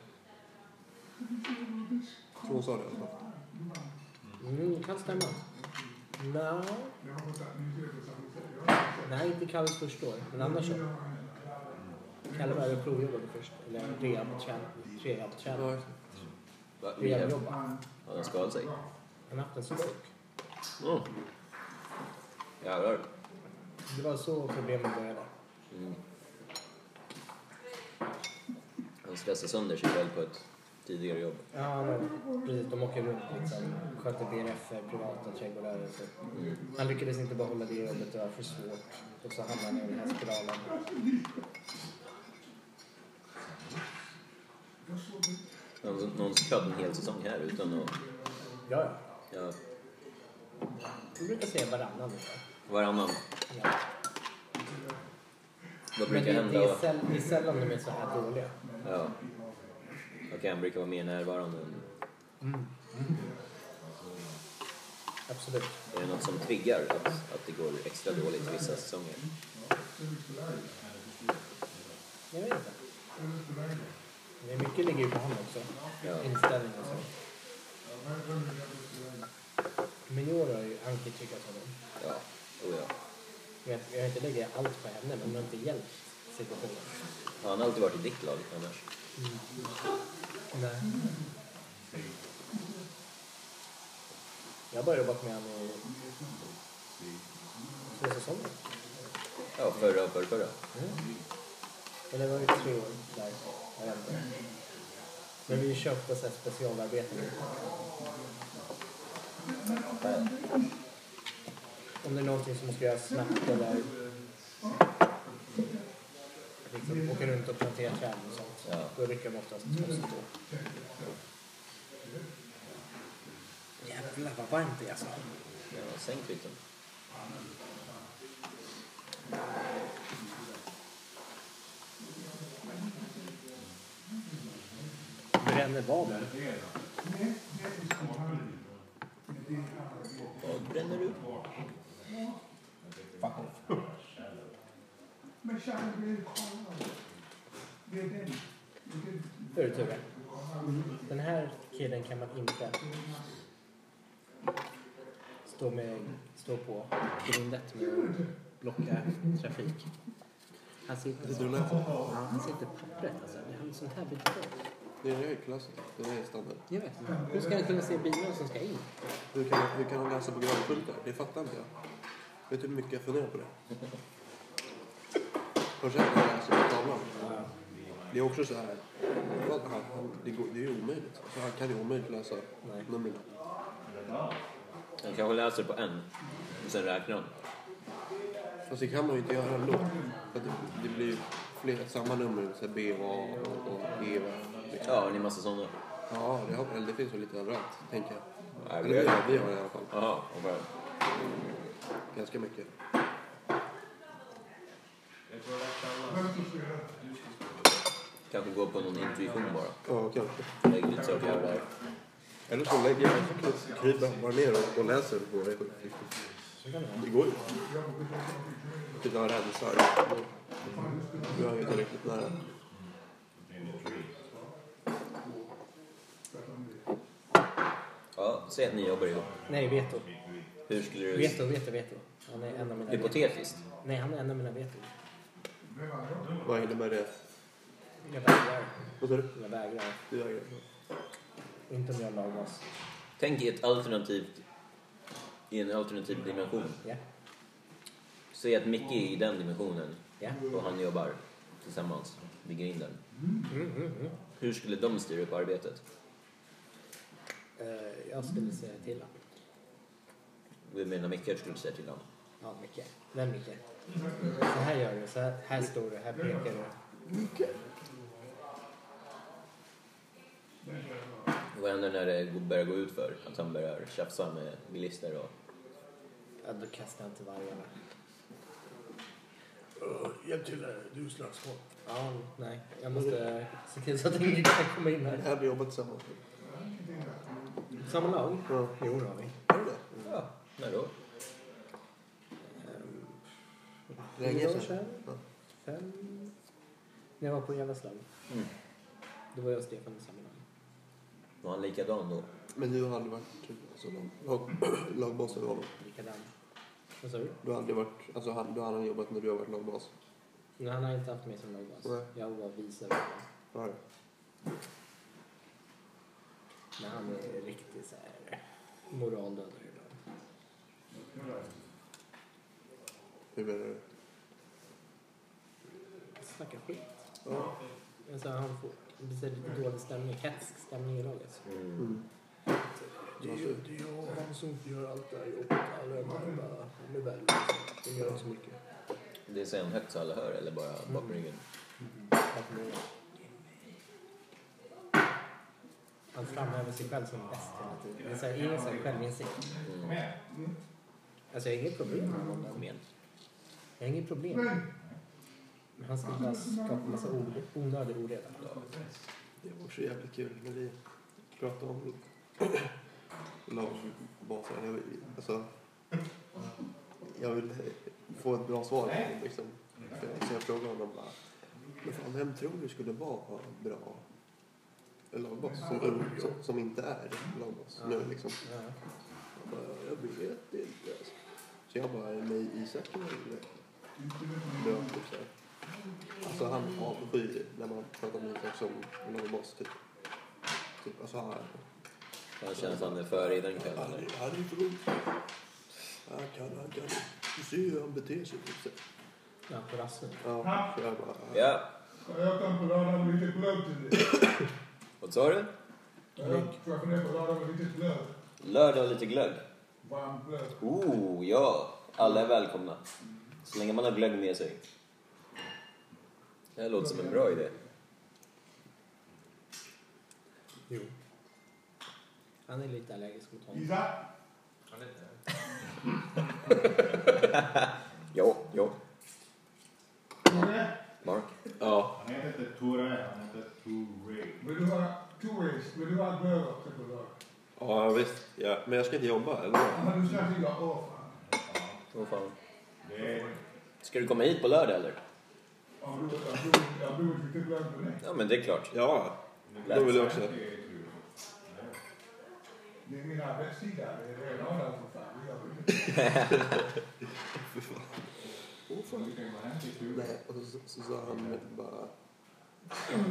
Speaker 5: Så hon sa det i alla fall.
Speaker 2: Mm, kan stämma. No. Nej, inte Kalles första år, men annars så. Kalle var över och provjobbade först, eller rehabträning.
Speaker 5: Ja,
Speaker 2: Rehabträning.
Speaker 4: Vad- rehab?
Speaker 2: Renjobba.
Speaker 4: Har han skadat sig?
Speaker 2: Han har haft en stroke.
Speaker 4: Mm. Jävlar.
Speaker 2: Det var så problemen började.
Speaker 4: Mm. Han stressade sönder sig själv på ett tidigare jobb.
Speaker 2: Ja, men precis. De åker runt liksom. Sköter BRF, privata trädgårdsrörelser.
Speaker 4: Mm.
Speaker 2: Han lyckades inte behålla det jobbet, det var för svårt. Och så hamnade han i den här spiralen.
Speaker 4: Någon som- någon som körde en hel säsong här utan att...
Speaker 2: Ja, ja.
Speaker 4: Ja,
Speaker 2: Vi brukar säga varannan liksom. ungefär.
Speaker 4: varannan.
Speaker 2: Ja. Men det,
Speaker 4: Vad brukar
Speaker 2: det, är
Speaker 4: hända?
Speaker 2: säll, det är sällan de är så här dåliga.
Speaker 4: Ja. Okej, han brukar vara mer närvarande. än-
Speaker 2: Absolut.
Speaker 4: Är det något som triggar att, att det går extra dåligt vissa säsonger?
Speaker 2: Jag vet inte. Men mycket ligger ju på honom också.
Speaker 4: Ja.
Speaker 2: Inställning och så. Men i år har ju Anki triggat honom.
Speaker 4: Ja, oh ja.
Speaker 2: Men jag- jag har inte lagt allt på henne, men hon har inte hjälpt situationen.
Speaker 4: Har han alltid varit i ditt lag annars?
Speaker 2: Nej. Jag började jobba med honom i två säsonger.
Speaker 4: Ja, förra och förrförra.
Speaker 2: Eller var det tre år? Där. Jag vet inte. Men vi köpte så här specialarbeten. Om det är någonting som måste göras snabbt eller liksom åka runt och plantera träd och sånt.
Speaker 4: Ja.
Speaker 2: Då rycker de oftast oss då. Jävlar vad varmt det är alltså.
Speaker 4: Ja, sänk lite.
Speaker 2: Bränner vaden.
Speaker 4: Vad bränner du?
Speaker 3: Men tjejen, det är kolla. Det är den.
Speaker 2: Hur Ture? Den här killen kan man inte stå, med, stå på grindet med och blocka trafik. Han sitter
Speaker 5: Det är
Speaker 2: så.
Speaker 5: den här,
Speaker 2: Ja, han sitter på pappret alltså. Han är sån här bedrövad.
Speaker 5: det är ju klassisk. Det är standard.
Speaker 2: Jag vet. Hur ska han kunna se bilen som ska in?
Speaker 5: Hur kan, hur kan han läsa programpunkter? Det fattar inte jag. Vet du hur mycket jag funderar på det? Först när jag läser på tavlan. Det är också så här. vad- Han, han, det, går, det är ju omöjligt. Alltså, han kan ju omöjligt läsa numren.
Speaker 4: Han kanske läser på en och sen räknar han.
Speaker 5: Fast det kan man ju inte göra ändå. För att det, det blir ju fler, samma nummer. Så här B och A och, och E och F. liksom.
Speaker 4: Ja, har ni massa sådana?
Speaker 5: Ja, det, har, eller det finns väl lite överallt, tänker jag.
Speaker 4: Nej,
Speaker 5: Eller vi, har- vi har det i alla fall.
Speaker 4: Jaha, och bara...
Speaker 5: Ganska mycket.
Speaker 4: Kanske gå på någon intuition bara.
Speaker 5: Ja, kanske.
Speaker 4: Lägg lite saker här och där.
Speaker 5: Eller så lägger jag kryper bara ner och, och läser på det. Det går ju. Utan rensar. Du har ju inte riktigt nära.
Speaker 4: Ja, säg att ni jobbar ihop.
Speaker 2: Nej, veto.
Speaker 4: Hur skulle du...
Speaker 2: Veto, veto, veto. Han är en av mina veto.
Speaker 4: Hypotetiskt.
Speaker 2: Nej, han är en av mina veto.
Speaker 5: Vad innebär det?
Speaker 2: Jag vägrar.
Speaker 5: Vad sa du?
Speaker 2: Jag vägrar.
Speaker 5: Du vägrar.
Speaker 2: Inte om jag lagas.
Speaker 4: Tänk i ett alternativt... I en alternativ dimension.
Speaker 2: Ja,
Speaker 4: Säg att Micke är i den dimensionen
Speaker 2: ja.
Speaker 4: och han jobbar tillsammans vid grinden.
Speaker 2: Mm,
Speaker 4: Hur skulle de styra upp arbetet?
Speaker 2: Eh, Jag skulle säga till honom.
Speaker 4: Du menar Micke skulle säga till honom?
Speaker 2: Ja, Micke. Den Micke. Så här gör du, så här, här står du, här pekar du.
Speaker 4: Vad händer när det går- börjar gå ut för Att han börjar tjafsa med bilister och...
Speaker 2: Ja, då kastar jag inte vargarna. Hjälp till här, du är slagsmål. Ja, nej. Jag måste se till så att ingen kan komma in här.
Speaker 5: Jag hade jobbat tillsammans.
Speaker 2: Samma lag?
Speaker 5: Ja.
Speaker 2: Jo, det har vi.
Speaker 5: Har du det?
Speaker 4: Ja, när då?
Speaker 5: Länge
Speaker 2: Ehm, Fyra år
Speaker 5: sedan.
Speaker 2: sedan.
Speaker 5: Ja.
Speaker 2: Fem... När jag var på Järvaslöv.
Speaker 4: Mm.
Speaker 2: Då var jag och Stefan i samma lag.
Speaker 4: Var han likadan då?
Speaker 5: Men du har aldrig varit alltså, lag, lagboss över honom?
Speaker 2: Likadan. Vad sa du?
Speaker 5: Du har aldrig varit, alltså han, du har aldrig jobbat när du har varit lagbas?
Speaker 2: Nej, han har inte haft mig som lagbas.
Speaker 5: Nej.
Speaker 2: Jag var vice överlag.
Speaker 5: Har du?
Speaker 2: Men han är riktigt så här moraldödare ibland.
Speaker 5: Hur menar du?
Speaker 2: Snackar skit. Alltså, han får det blir så här lite dålig stämning, hetsk stämning i laget.
Speaker 5: Mm.
Speaker 2: Det är ju det är jag och han som inte gör allt det här jobbet. Alla andra bara, de är värdelösa. De gör inte så mycket.
Speaker 4: Det säger han högt så alla hör eller bara bakom ryggen?
Speaker 2: Bakom öronen. Han framhäver sig själv som bäst hela tiden. Det är så här, ingen så här självinsikt. Alltså jag har inget problem med honom.
Speaker 4: Mm. Kom igen.
Speaker 2: Jag har inget problem. Men han ska bara skapa massa ord- onödig oreda.
Speaker 5: Det var också jävligt kul när vi pratade om lagbasar. Jag, vill- alltså, jag vill få ett bra svar. Liksom. Så jag frågade honom bara, men fan, vem tror du skulle vara bra lagbas som, som, som inte är lagbas nu liksom?
Speaker 2: Ja.
Speaker 5: Jag bara, jag vet inte. Alltså. Så jag bara, nej Isak är väl bra typ så här. Alltså han avskyr när man pratar om Isak som lagboss typ. typ alltså han,
Speaker 4: Han känner att han är före i den kön
Speaker 5: han,
Speaker 4: eller?
Speaker 5: är- han är inte god. Han kan, han kan. Du ser ju hur han beter sig typ så här.
Speaker 2: Ja, på rassen.
Speaker 5: Ja, så jag bara, ja.
Speaker 4: Ja,
Speaker 6: Ja, Jag kan få röra med lite glöd till dig.
Speaker 4: vad sa du?
Speaker 6: Ja, Jag jag kan få röra med lite glöd.
Speaker 4: Lördag och lite glögg.
Speaker 6: Varm glöd.
Speaker 4: Oh, ja. Alla är välkomna. Så länge man har glögg med sig. Det här låter som en bra idé.
Speaker 2: Jo. Han är lite allergisk mot honom.
Speaker 6: Isak?
Speaker 4: Ja, ja.
Speaker 6: Tore?
Speaker 4: Mark? Ja.
Speaker 8: Han heter inte Tore, han heter Tore.
Speaker 6: Vill du ha two ways? Vill du ha glöd också på lördag?
Speaker 5: ja visst. Ja. Men jag ska inte jobba eller? vad?
Speaker 6: Men du ska skriva av. fan.
Speaker 4: Vad fan.
Speaker 8: Det är
Speaker 4: Ska du komma hit på lördag eller?
Speaker 6: Om du- Jag tror- jag tror inte lite glöd på dig.
Speaker 4: Ja, men det är klart.
Speaker 5: Ja, det vill jag också.
Speaker 6: Det är min arbetssida. Det är renarna för fan. Det gör vi inte.
Speaker 5: Nej, och så, så sa han bara...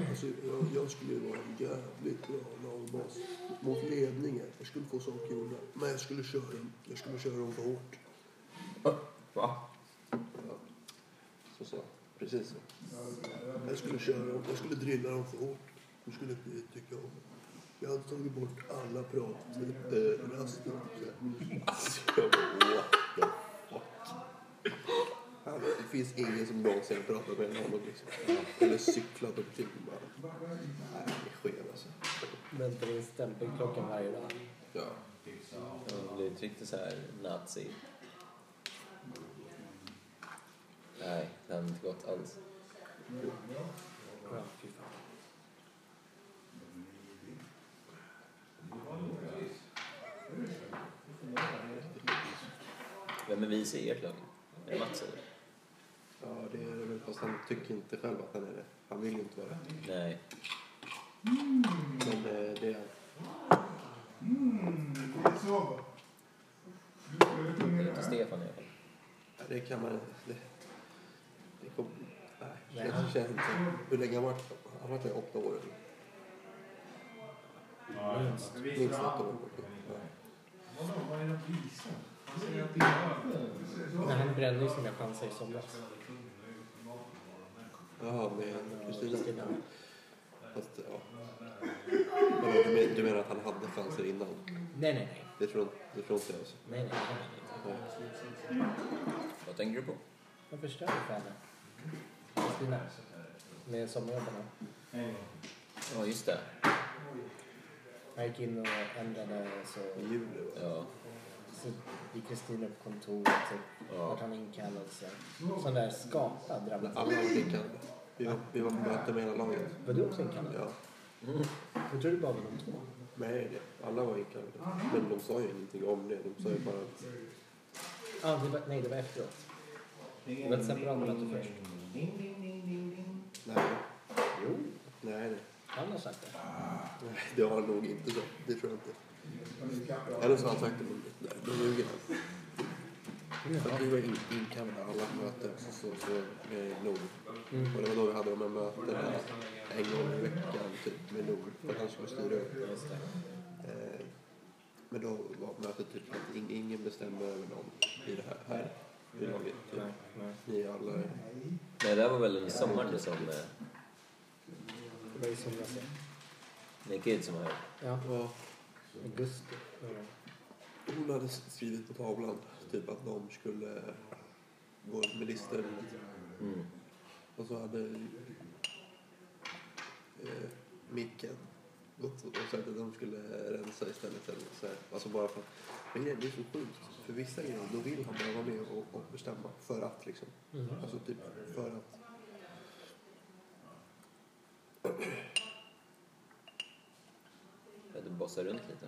Speaker 5: Alltså, jag, jag skulle ju vara en jävligt bra lagbas mot ledningen. Jag skulle få saker gjorda. Men jag skulle köra dem, jag skulle köra dem för hårt.
Speaker 4: Va?
Speaker 5: Så sa han. Precis så. Jag skulle köra dem, jag skulle drilla dem för hårt. De skulle inte tycka om det. Jag hade tagit bort alla typ, eh, pratraster. Alltså, jag bara, what the fuck? Han, det finns ingen som någonsin har pratat med honom liksom. Eller cyklat upp till honom bara. Nej, han är skev alltså.
Speaker 2: Väntar in stämpelklockan varje dag.
Speaker 5: Ja.
Speaker 4: Han blir inte riktigt så här nazi. Nej, det hade inte gått alls.
Speaker 2: Ja, fy fan.
Speaker 4: Vem är vis i ert lag? Är det Mats eller?
Speaker 5: Ja, det är det väl. Fast han tycker inte själv att han är det. Han vill ju inte vara det.
Speaker 4: Nej.
Speaker 5: Men eh, det är han.
Speaker 6: Det är så. va? Du skulle
Speaker 4: Det är
Speaker 6: kunna
Speaker 4: inte Stefan i alla fall.
Speaker 5: Ja, Det kan man Det, det kom, nej,
Speaker 2: Nej.
Speaker 5: det känns inte. Hur länge har han varit? Han har varit där i åtta år. eller? Minst åtta år.
Speaker 2: Men han brände ju sina chanser i somras.
Speaker 5: Ja, med Kristina.
Speaker 2: Kristina.
Speaker 5: Fast, ja. Vadå, Du, men, du menar att han hade chanser innan?
Speaker 2: Nej, nej, nej.
Speaker 5: Det tror, det tror inte jag. Alltså.
Speaker 2: nej, nej, nej.
Speaker 5: Nej.
Speaker 4: Vad tänker du på?
Speaker 2: Jag förstörde för henne. Kristina. Med sommarjobbarna.
Speaker 4: Ja, just det.
Speaker 2: Jag gick in och ändrade så,
Speaker 5: I juli, va?
Speaker 4: Ja.
Speaker 2: så gick Kristina på kontoret. Typ. Vart han inkallad och så. Sån där skapad
Speaker 5: När
Speaker 2: dramatik.
Speaker 5: alla var inkallade. Vi var, vi var på möte med hela laget.
Speaker 2: Var du också inkallad?
Speaker 5: Ja.
Speaker 2: Jag tror det bara var de två.
Speaker 5: Nej, det- alla var inkallade. Men de sa ju ingenting om det. De sa ju bara att
Speaker 2: Ah, det var, nej, det var efteråt. Det var ett separat möte först.
Speaker 5: nej,
Speaker 2: Jo,
Speaker 5: nej, nej.
Speaker 2: han har sagt det.
Speaker 5: Nej, det har han nog inte sagt. Det tror jag inte. Eller så har han sagt det, men nej, då ljuger han. För vi var in- inkallade alla möten, så, så, så med Nord. Och det var då vi hade de här mötena en gång i veckan typ, med Nord, för att han skulle styra upp. Men då var mötet typ att ing- ingen bestämmer över någon i det här, här i laget. Typ. Ni alla...
Speaker 4: Nej, det här var väl en sommaren som... Eh,
Speaker 2: Det var i somras. ja.
Speaker 4: det är Kid som har gjort.
Speaker 2: Ja,
Speaker 5: Ja,
Speaker 2: augusti. Ja.
Speaker 5: hon hade skrivit på tavlan typ att de skulle gå med listor.
Speaker 4: Mm.
Speaker 5: Och så hade eh, Micken gått och sagt att de skulle rensa istället. Eller så här. Alltså bara för att... Men grejen, det är så sjukt. För vissa grejer, då vill han bara vara med och, och bestämma. För att liksom.
Speaker 2: Mm.
Speaker 5: Alltså typ för att...
Speaker 4: För att bossa runt lite.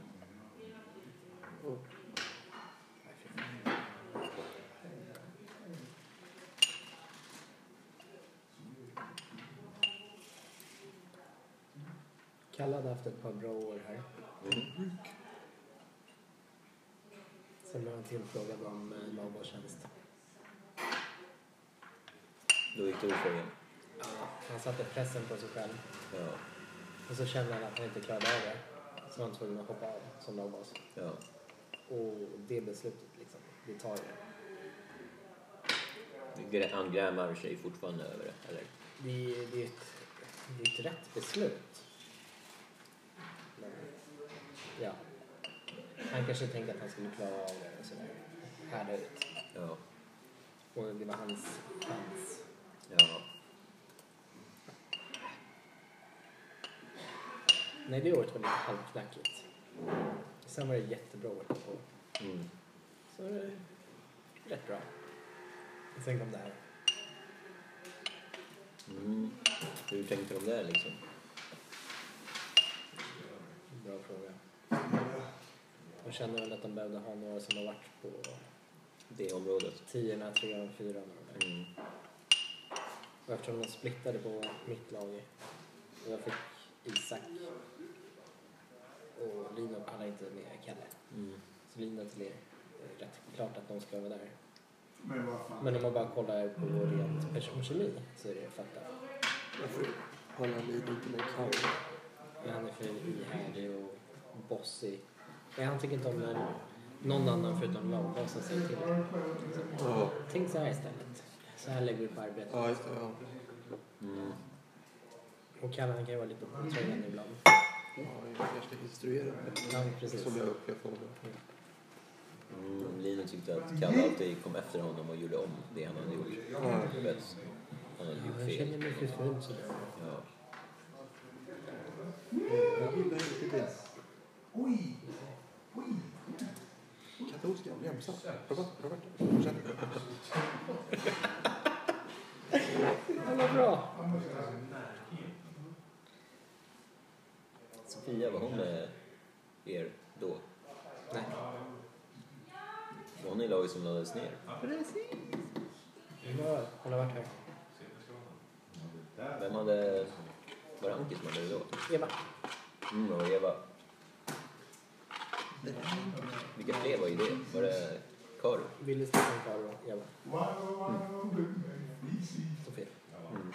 Speaker 2: Kalle hade haft ett par bra år här. Sen blev han tillfrågad om eh, nabotjänst.
Speaker 4: Då gick du frågan.
Speaker 2: Han satte pressen på sig själv
Speaker 4: Ja,
Speaker 2: och så kände han att han inte klarade av det. Så var han tvungen att hoppa av som nobos.
Speaker 4: ja.
Speaker 2: Och det beslutet liksom, vi tar ju det.
Speaker 4: Grä- Han grämar sig fortfarande över det, eller?
Speaker 2: Det är, det är, ett, det är ett rätt beslut. Men, ja. Han kanske tänkte att han skulle klara av det och sådär. Härda ut.
Speaker 4: Ja,
Speaker 2: Och det var hans chans.
Speaker 4: ja.
Speaker 2: Nej, det året var lite halvknackigt. Sen var det jättebra året på.
Speaker 4: Mm.
Speaker 2: Så var det rätt bra. Och sen kom det här.
Speaker 4: Mm. Hur tänkte de där liksom?
Speaker 2: Bra fråga. De kände väl att de behövde ha några som har varit på
Speaker 4: Det området?
Speaker 2: tiorna, trean, fyran och de där.
Speaker 4: Mm.
Speaker 2: Och eftersom de splittade på mitt lag och jag fick Isak och Lino pallar inte med Kalle.
Speaker 4: Mm.
Speaker 2: Så Lino till er. Det är rätt klart att de ska vara där.
Speaker 6: Men vad fan.
Speaker 2: Men om man bara kollar på rent personkemi så är det fakta.
Speaker 5: Varför håller han i lite med Kalle?
Speaker 2: Men han är för ihärdig och bossig. Nej, han tycker inte om när någon annan förutom lagbasen säger till honom.
Speaker 5: Ja,
Speaker 2: Tänk så här istället. Så här lägger vi upp arbetet.
Speaker 5: ja just det. Ja.
Speaker 4: Mm.
Speaker 2: Och Kalle han kan ju vara lite påträngande ibland.
Speaker 5: Ja, jag kanske ska instruera mig.
Speaker 2: Ja, precis.
Speaker 5: Som jag upplevt honom.
Speaker 4: Mm. Lino tyckte att Kalle alltid kom efter honom och gjorde om det han hade gjort.
Speaker 5: Ja.
Speaker 4: Du vet, han hade
Speaker 2: Ja,
Speaker 4: gjort
Speaker 2: jag känner
Speaker 4: fel.
Speaker 2: mig förföljd sådär.
Speaker 4: Ja.
Speaker 5: Jag gillar inte det.
Speaker 6: Oj! Oj!
Speaker 5: Katolska remsan. Robert, Robert, fortsätt.
Speaker 2: Ja, vad bra!
Speaker 4: Sofia, var hon med er då?
Speaker 2: Nej.
Speaker 4: Var hon i laget som lades ner?
Speaker 2: Ja, hon har varit här.
Speaker 4: Vem hade... Var det Anki som hade det då?
Speaker 2: Eva.
Speaker 4: Mm, och Eva. Vilka fler var i det? Var det Karo?
Speaker 2: Ville, Stefan, Karo, Eva. Sofia.
Speaker 4: Mm.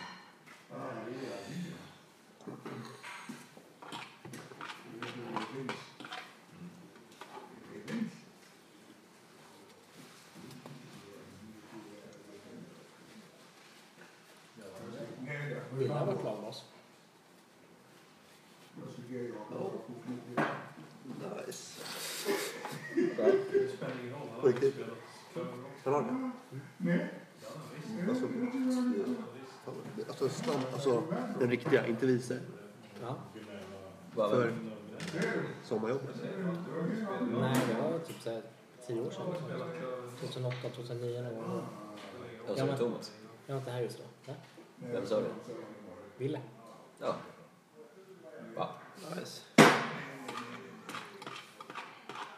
Speaker 2: Ville har varit lagbas.
Speaker 5: Nice. På riktigt? Han har det? Alltså, eh, alltså, snabb, alltså den riktiga, inte vice.
Speaker 2: Ja.
Speaker 4: Var
Speaker 5: För
Speaker 4: väl-
Speaker 5: sommarjobbet.
Speaker 2: Nej, det var typ så här tio år sedan. 2008, 2009 någon gång.
Speaker 4: Och
Speaker 2: Ja,
Speaker 4: så
Speaker 2: men-
Speaker 4: Thomas.
Speaker 2: Jag var inte här just då. Nej.
Speaker 4: Vem sa det?
Speaker 2: Ville.
Speaker 4: Ja. Va? Nice.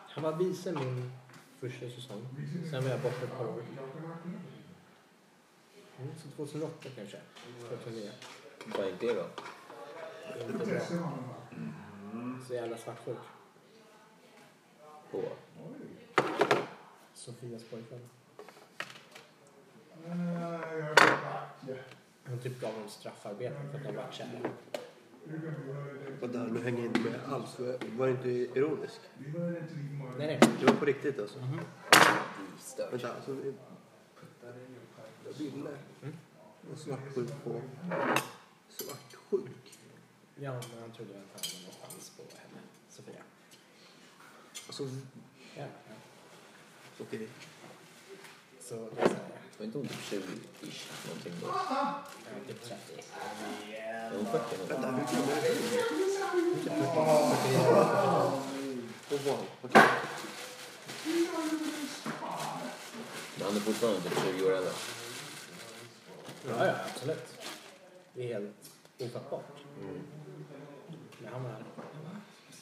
Speaker 2: Han var vice min första säsong. Sen var jag borta ett par år. Mm, så 2008 kanske. 2009.
Speaker 4: Vad gick det då?
Speaker 2: Det var Inte bra. Så jävla svartsjuk.
Speaker 4: På?
Speaker 2: Sofias pojkvän.
Speaker 6: Nej, jag är back.
Speaker 2: Hon typ gav dem straffarbete för att de var kära.
Speaker 5: Och därmed hänger jag inte med alls. Var inte ironisk?
Speaker 2: Nej, nej.
Speaker 5: Det var på riktigt alltså. Vänta, alltså. vi- Jag ville vara svartsjuk på... Svartsjuk?
Speaker 2: Ja, men han trodde att han hade en chans på henne, Sofia.
Speaker 5: Alltså,
Speaker 2: Ja.
Speaker 5: okej.
Speaker 2: Så det är så här,
Speaker 4: Var inte hon typ 20-ish någonting då?
Speaker 2: ja, typ 30.
Speaker 4: Är hon 40 någonting?
Speaker 5: Vänta, hur gammal är du? Åh, wow. Okej.
Speaker 4: Men han är fortfarande typ 20 år äldre.
Speaker 2: Ja, ja, absolut. Det är helt ofattbart. Men han var,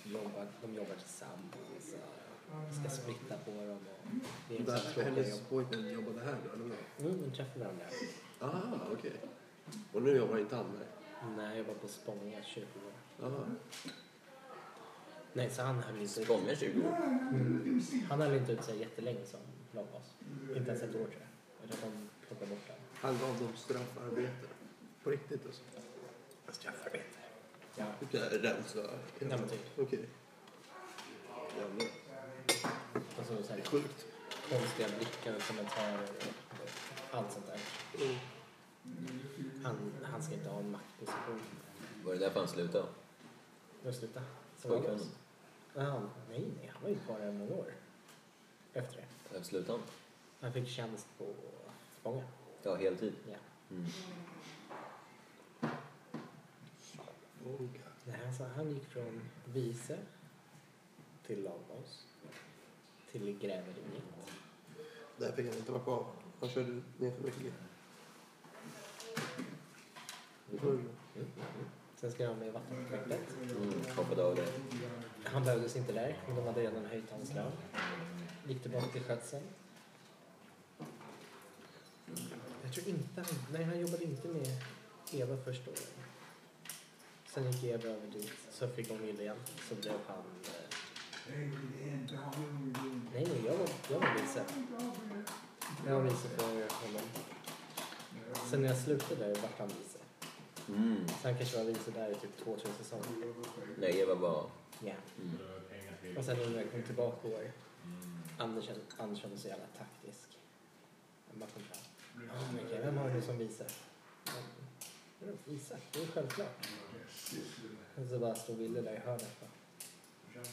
Speaker 2: jobbar, de jobbar tillsammans. och Ska splitta på dem. Och det är en sån här
Speaker 5: Där,
Speaker 2: tråkiga jobb.
Speaker 5: hennes pojkvän jobbade här då, eller vad?
Speaker 2: Mm, de träffar varandra.
Speaker 5: Ah, okej. Och nu jobbar inte han med
Speaker 2: Nej, jag jobbar på Spånga 20 år.
Speaker 5: Aha.
Speaker 2: Nej, så han höll inte ut,
Speaker 4: Spånga 20 år.
Speaker 2: han höll inte ut sig jättelänge som lagbas. Inte ens ett år tror jag. Utan de plockade bort honom.
Speaker 5: Han gav dem straffarbete. På riktigt alltså.
Speaker 2: Straffarbete. Ja,
Speaker 5: Du ska rensa.
Speaker 2: Ja, men typ.
Speaker 5: Okej. Jävlar.
Speaker 2: och så, så här,
Speaker 5: Sjukt.
Speaker 2: konstiga blickar och kommentarer och allt sånt där.
Speaker 5: Mm.
Speaker 2: Han, han ska inte ha en maktposition.
Speaker 4: Var det därför han slutade?
Speaker 2: Nu sluta. Så var det
Speaker 4: Pojkvännen?
Speaker 2: Ja, nej, nej, han var ju kvar där några år efter det.
Speaker 4: Varför slutade han?
Speaker 2: Han fick tjänst på Spånga.
Speaker 4: Ja, heltid.
Speaker 2: Ja.
Speaker 4: Mm.
Speaker 5: Oh, God.
Speaker 2: Nej, alltså, han gick från vice till lagbas till gräveriet.
Speaker 5: Där fick han inte vara kvar. Han körde ner för mycket.
Speaker 2: Sen ska han med i vattenprojektet.
Speaker 4: Mm. Hoppade av det.
Speaker 2: Han behövdes inte där, men de hade redan höjt hans lön. Gick tillbaka till skötseln. Jag tror inte han... Nej, han jobbade inte med Eva första året. Sen gick Eva över dit, så fick hon William. Så blev han... eh, Nej, nej, jag var, jag var vice. Jag var vice för honom. Sen när jag slutade där vart han vice.
Speaker 4: Mm.
Speaker 2: Så han kanske var vice där i typ två, tre säsonger.
Speaker 4: Nej, Eva bara...
Speaker 2: Ja.
Speaker 4: Mm.
Speaker 2: Och sen när jag kom tillbaka i år. Andersson, Andersson är så jävla taktisk. Jag bara kom fram. Ja, men okej, vem har du som vice? Ja, vadå, Isak, det är självklart. Och så bara står Wille där i hörnet. bara. Så,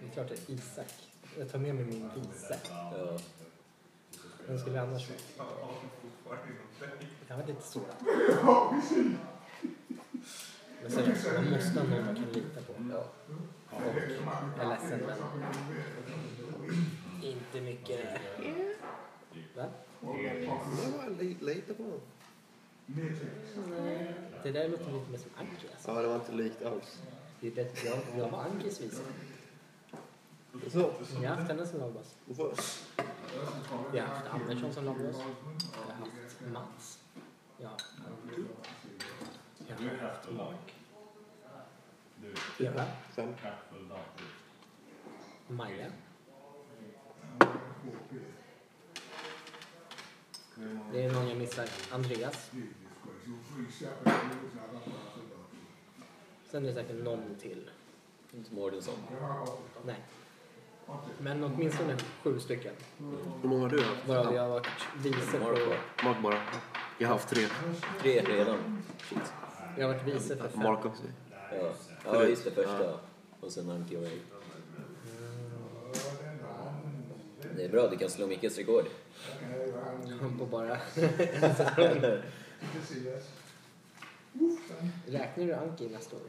Speaker 2: Det är klart det är Isak. Jag tar med mig min vice.
Speaker 4: Ja.
Speaker 2: Vem skulle det annars vara? Jag var lite sårad. Men seriöst, man måste ha någon man kan lita på.
Speaker 4: ja.
Speaker 2: Och jag är ledsen men... Inte mycket det. Va?
Speaker 5: Jag var li- lite på honom.
Speaker 2: Det där låter lite mer som Anki alltså.
Speaker 5: Ja, det var inte likt alls.
Speaker 2: Det är bättre. Jag, jag var Ankis vice.
Speaker 5: Så.
Speaker 2: Jag har haft henne som lagbas.
Speaker 5: då får-
Speaker 2: Jag har haft Andersson som lagbas. Jag har haft Mats. Jag har haft Anki. Jag har haft Mark. Eva.
Speaker 5: Sen.
Speaker 2: Maja. Det är någon jag missar. Andreas. Sen är det säkert någon till.
Speaker 4: Inte Mårtensson.
Speaker 2: Nej. Men åtminstone sju stycken.
Speaker 5: Hur många har du haft?
Speaker 2: Varav jag har varit vice för,
Speaker 5: Mark bara. Jag har haft tre.
Speaker 4: Tre redan. Shit.
Speaker 2: jag har varit vice för fem.
Speaker 5: Mark också.
Speaker 4: Ja, ja just det. Första. Och sen Anki och Ray. Det är bra, du kan slå Mickes rekord.
Speaker 2: Han på bara... Räknar du Anki nästa år?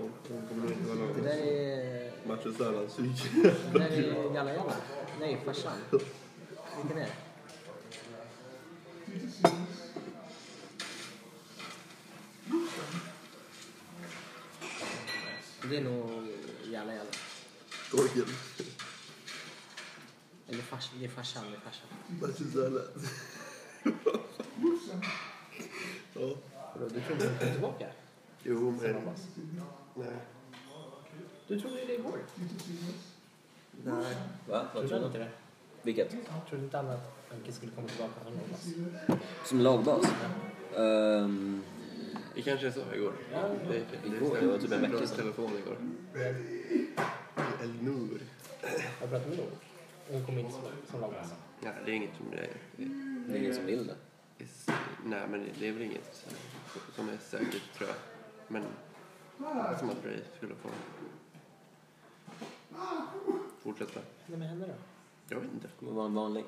Speaker 5: Hon kommer inte vara
Speaker 2: Det
Speaker 5: någon
Speaker 2: där är...
Speaker 5: Marcus Erlandsson.
Speaker 2: Det där är Jalla Jalla. Nej, farsan. Vilken är det? Det är nog Jalla Jalla.
Speaker 5: Torkel.
Speaker 2: Eller fars, det är farsan, det är farsan.
Speaker 5: Marcus Erlandsson. Ja.
Speaker 2: Vadå, du trodde du kom tillbaka?
Speaker 5: Jo, men... Nej.
Speaker 2: Du trodde ju det igår.
Speaker 5: Nej.
Speaker 4: Va? Vad
Speaker 2: Trodde
Speaker 4: tror
Speaker 2: du
Speaker 4: du?
Speaker 2: inte det?
Speaker 4: Vilket?
Speaker 2: Trodde inte alla att Anki skulle komma tillbaka från Norrlands?
Speaker 4: Som lagbas? Ehm,
Speaker 5: Det kanske är så igår. Det,
Speaker 4: Igår? Det var typ en vecka
Speaker 5: Jag
Speaker 4: sedan.
Speaker 5: telefon igår. Elnor.
Speaker 2: Jag pratade med Nord. Hon kom in som, som lagvasan.
Speaker 5: Ja, det är inget som det är.
Speaker 4: Det är ingen som vill det.
Speaker 5: det är- Nej, men det är väl inget som- som är säkert tror jag. Men som att Ray skulle få fortsätta.
Speaker 2: Nej men henne då?
Speaker 5: Jag vet inte.
Speaker 4: Kommer vara en vanlig...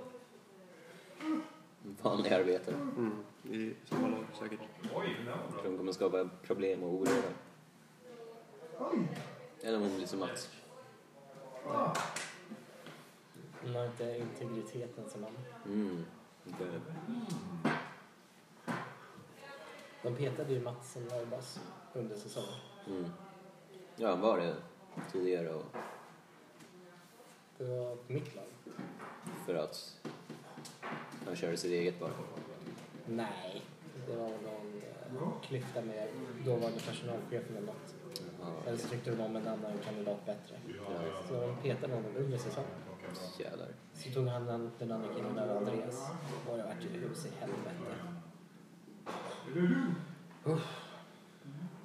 Speaker 4: En vanlig arbetare.
Speaker 5: Mm, I samma lag säkert.
Speaker 4: Jag tror hon kommer skapa problem och oreda. Eller om hon blir som Mats.
Speaker 2: Hon har inte integriteten som man.
Speaker 4: Mm. Det-
Speaker 2: De petade ju Mats som lagvas under säsongen.
Speaker 4: Mm. Ja, han var det tidigare och
Speaker 2: Det var på mitt lag.
Speaker 4: för att han körde sitt eget bara.
Speaker 2: Nej. Det var någon eh, klyfta med dåvarande personalchefen eller något.
Speaker 4: Ja,
Speaker 2: Eller så tyckte de om en annan kandidat bättre.
Speaker 4: ja,
Speaker 2: Så de petade honom under säsongen.
Speaker 4: jävlar.
Speaker 2: Så tog han den, den andra killen där, Andreas. Och det vart ju hus i helvete. Uff.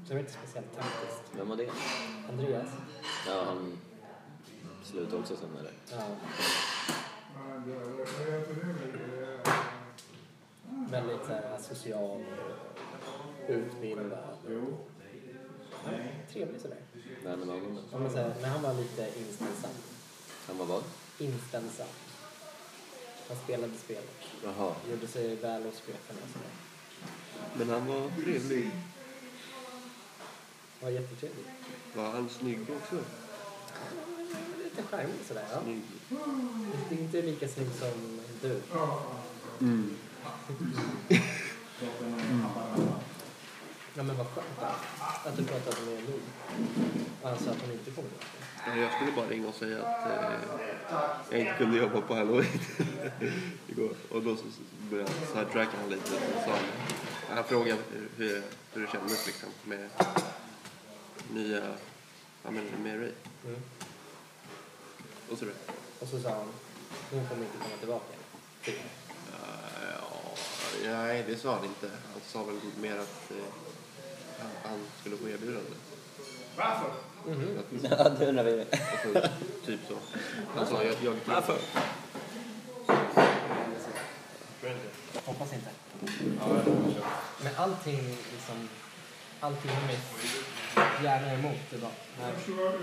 Speaker 2: Så det var inte speciellt taktiskt.
Speaker 4: Vem var det?
Speaker 2: Andreas?
Speaker 4: Ja, han slutade också sen eller?
Speaker 2: Ja. Väldigt så här, social, utbildad. Ja, trevlig sådär.
Speaker 4: Vem var han då?
Speaker 2: Ja, Men, så här, men han var lite inställsam.
Speaker 4: Han var vad?
Speaker 2: Inställsam. Han spelade spelet.
Speaker 4: Jaha.
Speaker 2: Gjorde sig väl hos cheferna och sådär.
Speaker 5: Men han var trevlig.
Speaker 2: Det var jättetrevligt.
Speaker 5: Var han snygg också?
Speaker 2: Lite charmig sådär. Ja.
Speaker 5: Snygg.
Speaker 2: Det är inte lika snygg som du.
Speaker 5: Mm.
Speaker 2: Ja, men vad skönt att- att du pratade med Lou. Han sa Alltså, att hon inte kommer ihåg det.
Speaker 5: Ja, Eh, Jag skulle bara ringa och säga att eh, jag inte kunde jobba på halloween igår. Och då så- så började jag sidetracka han lite. Och sa, han frågade hur, hur det kändes liksom med nya, ja men med Ray.
Speaker 2: Mm.
Speaker 5: Och så det.
Speaker 2: Och så sa han, hon kommer inte komma tillbaka. Typ.
Speaker 5: Eh, ja, nej, det sa han inte. Han sa väl mer att eh, han, han skulle få erbjudande. Att-
Speaker 4: Ja, det undrar vi.
Speaker 5: Alltså, typ så. Han sa jag... jag Varför?
Speaker 2: Hoppas inte. Men allting, liksom, allting i min hjärna är emot det bara. Nej.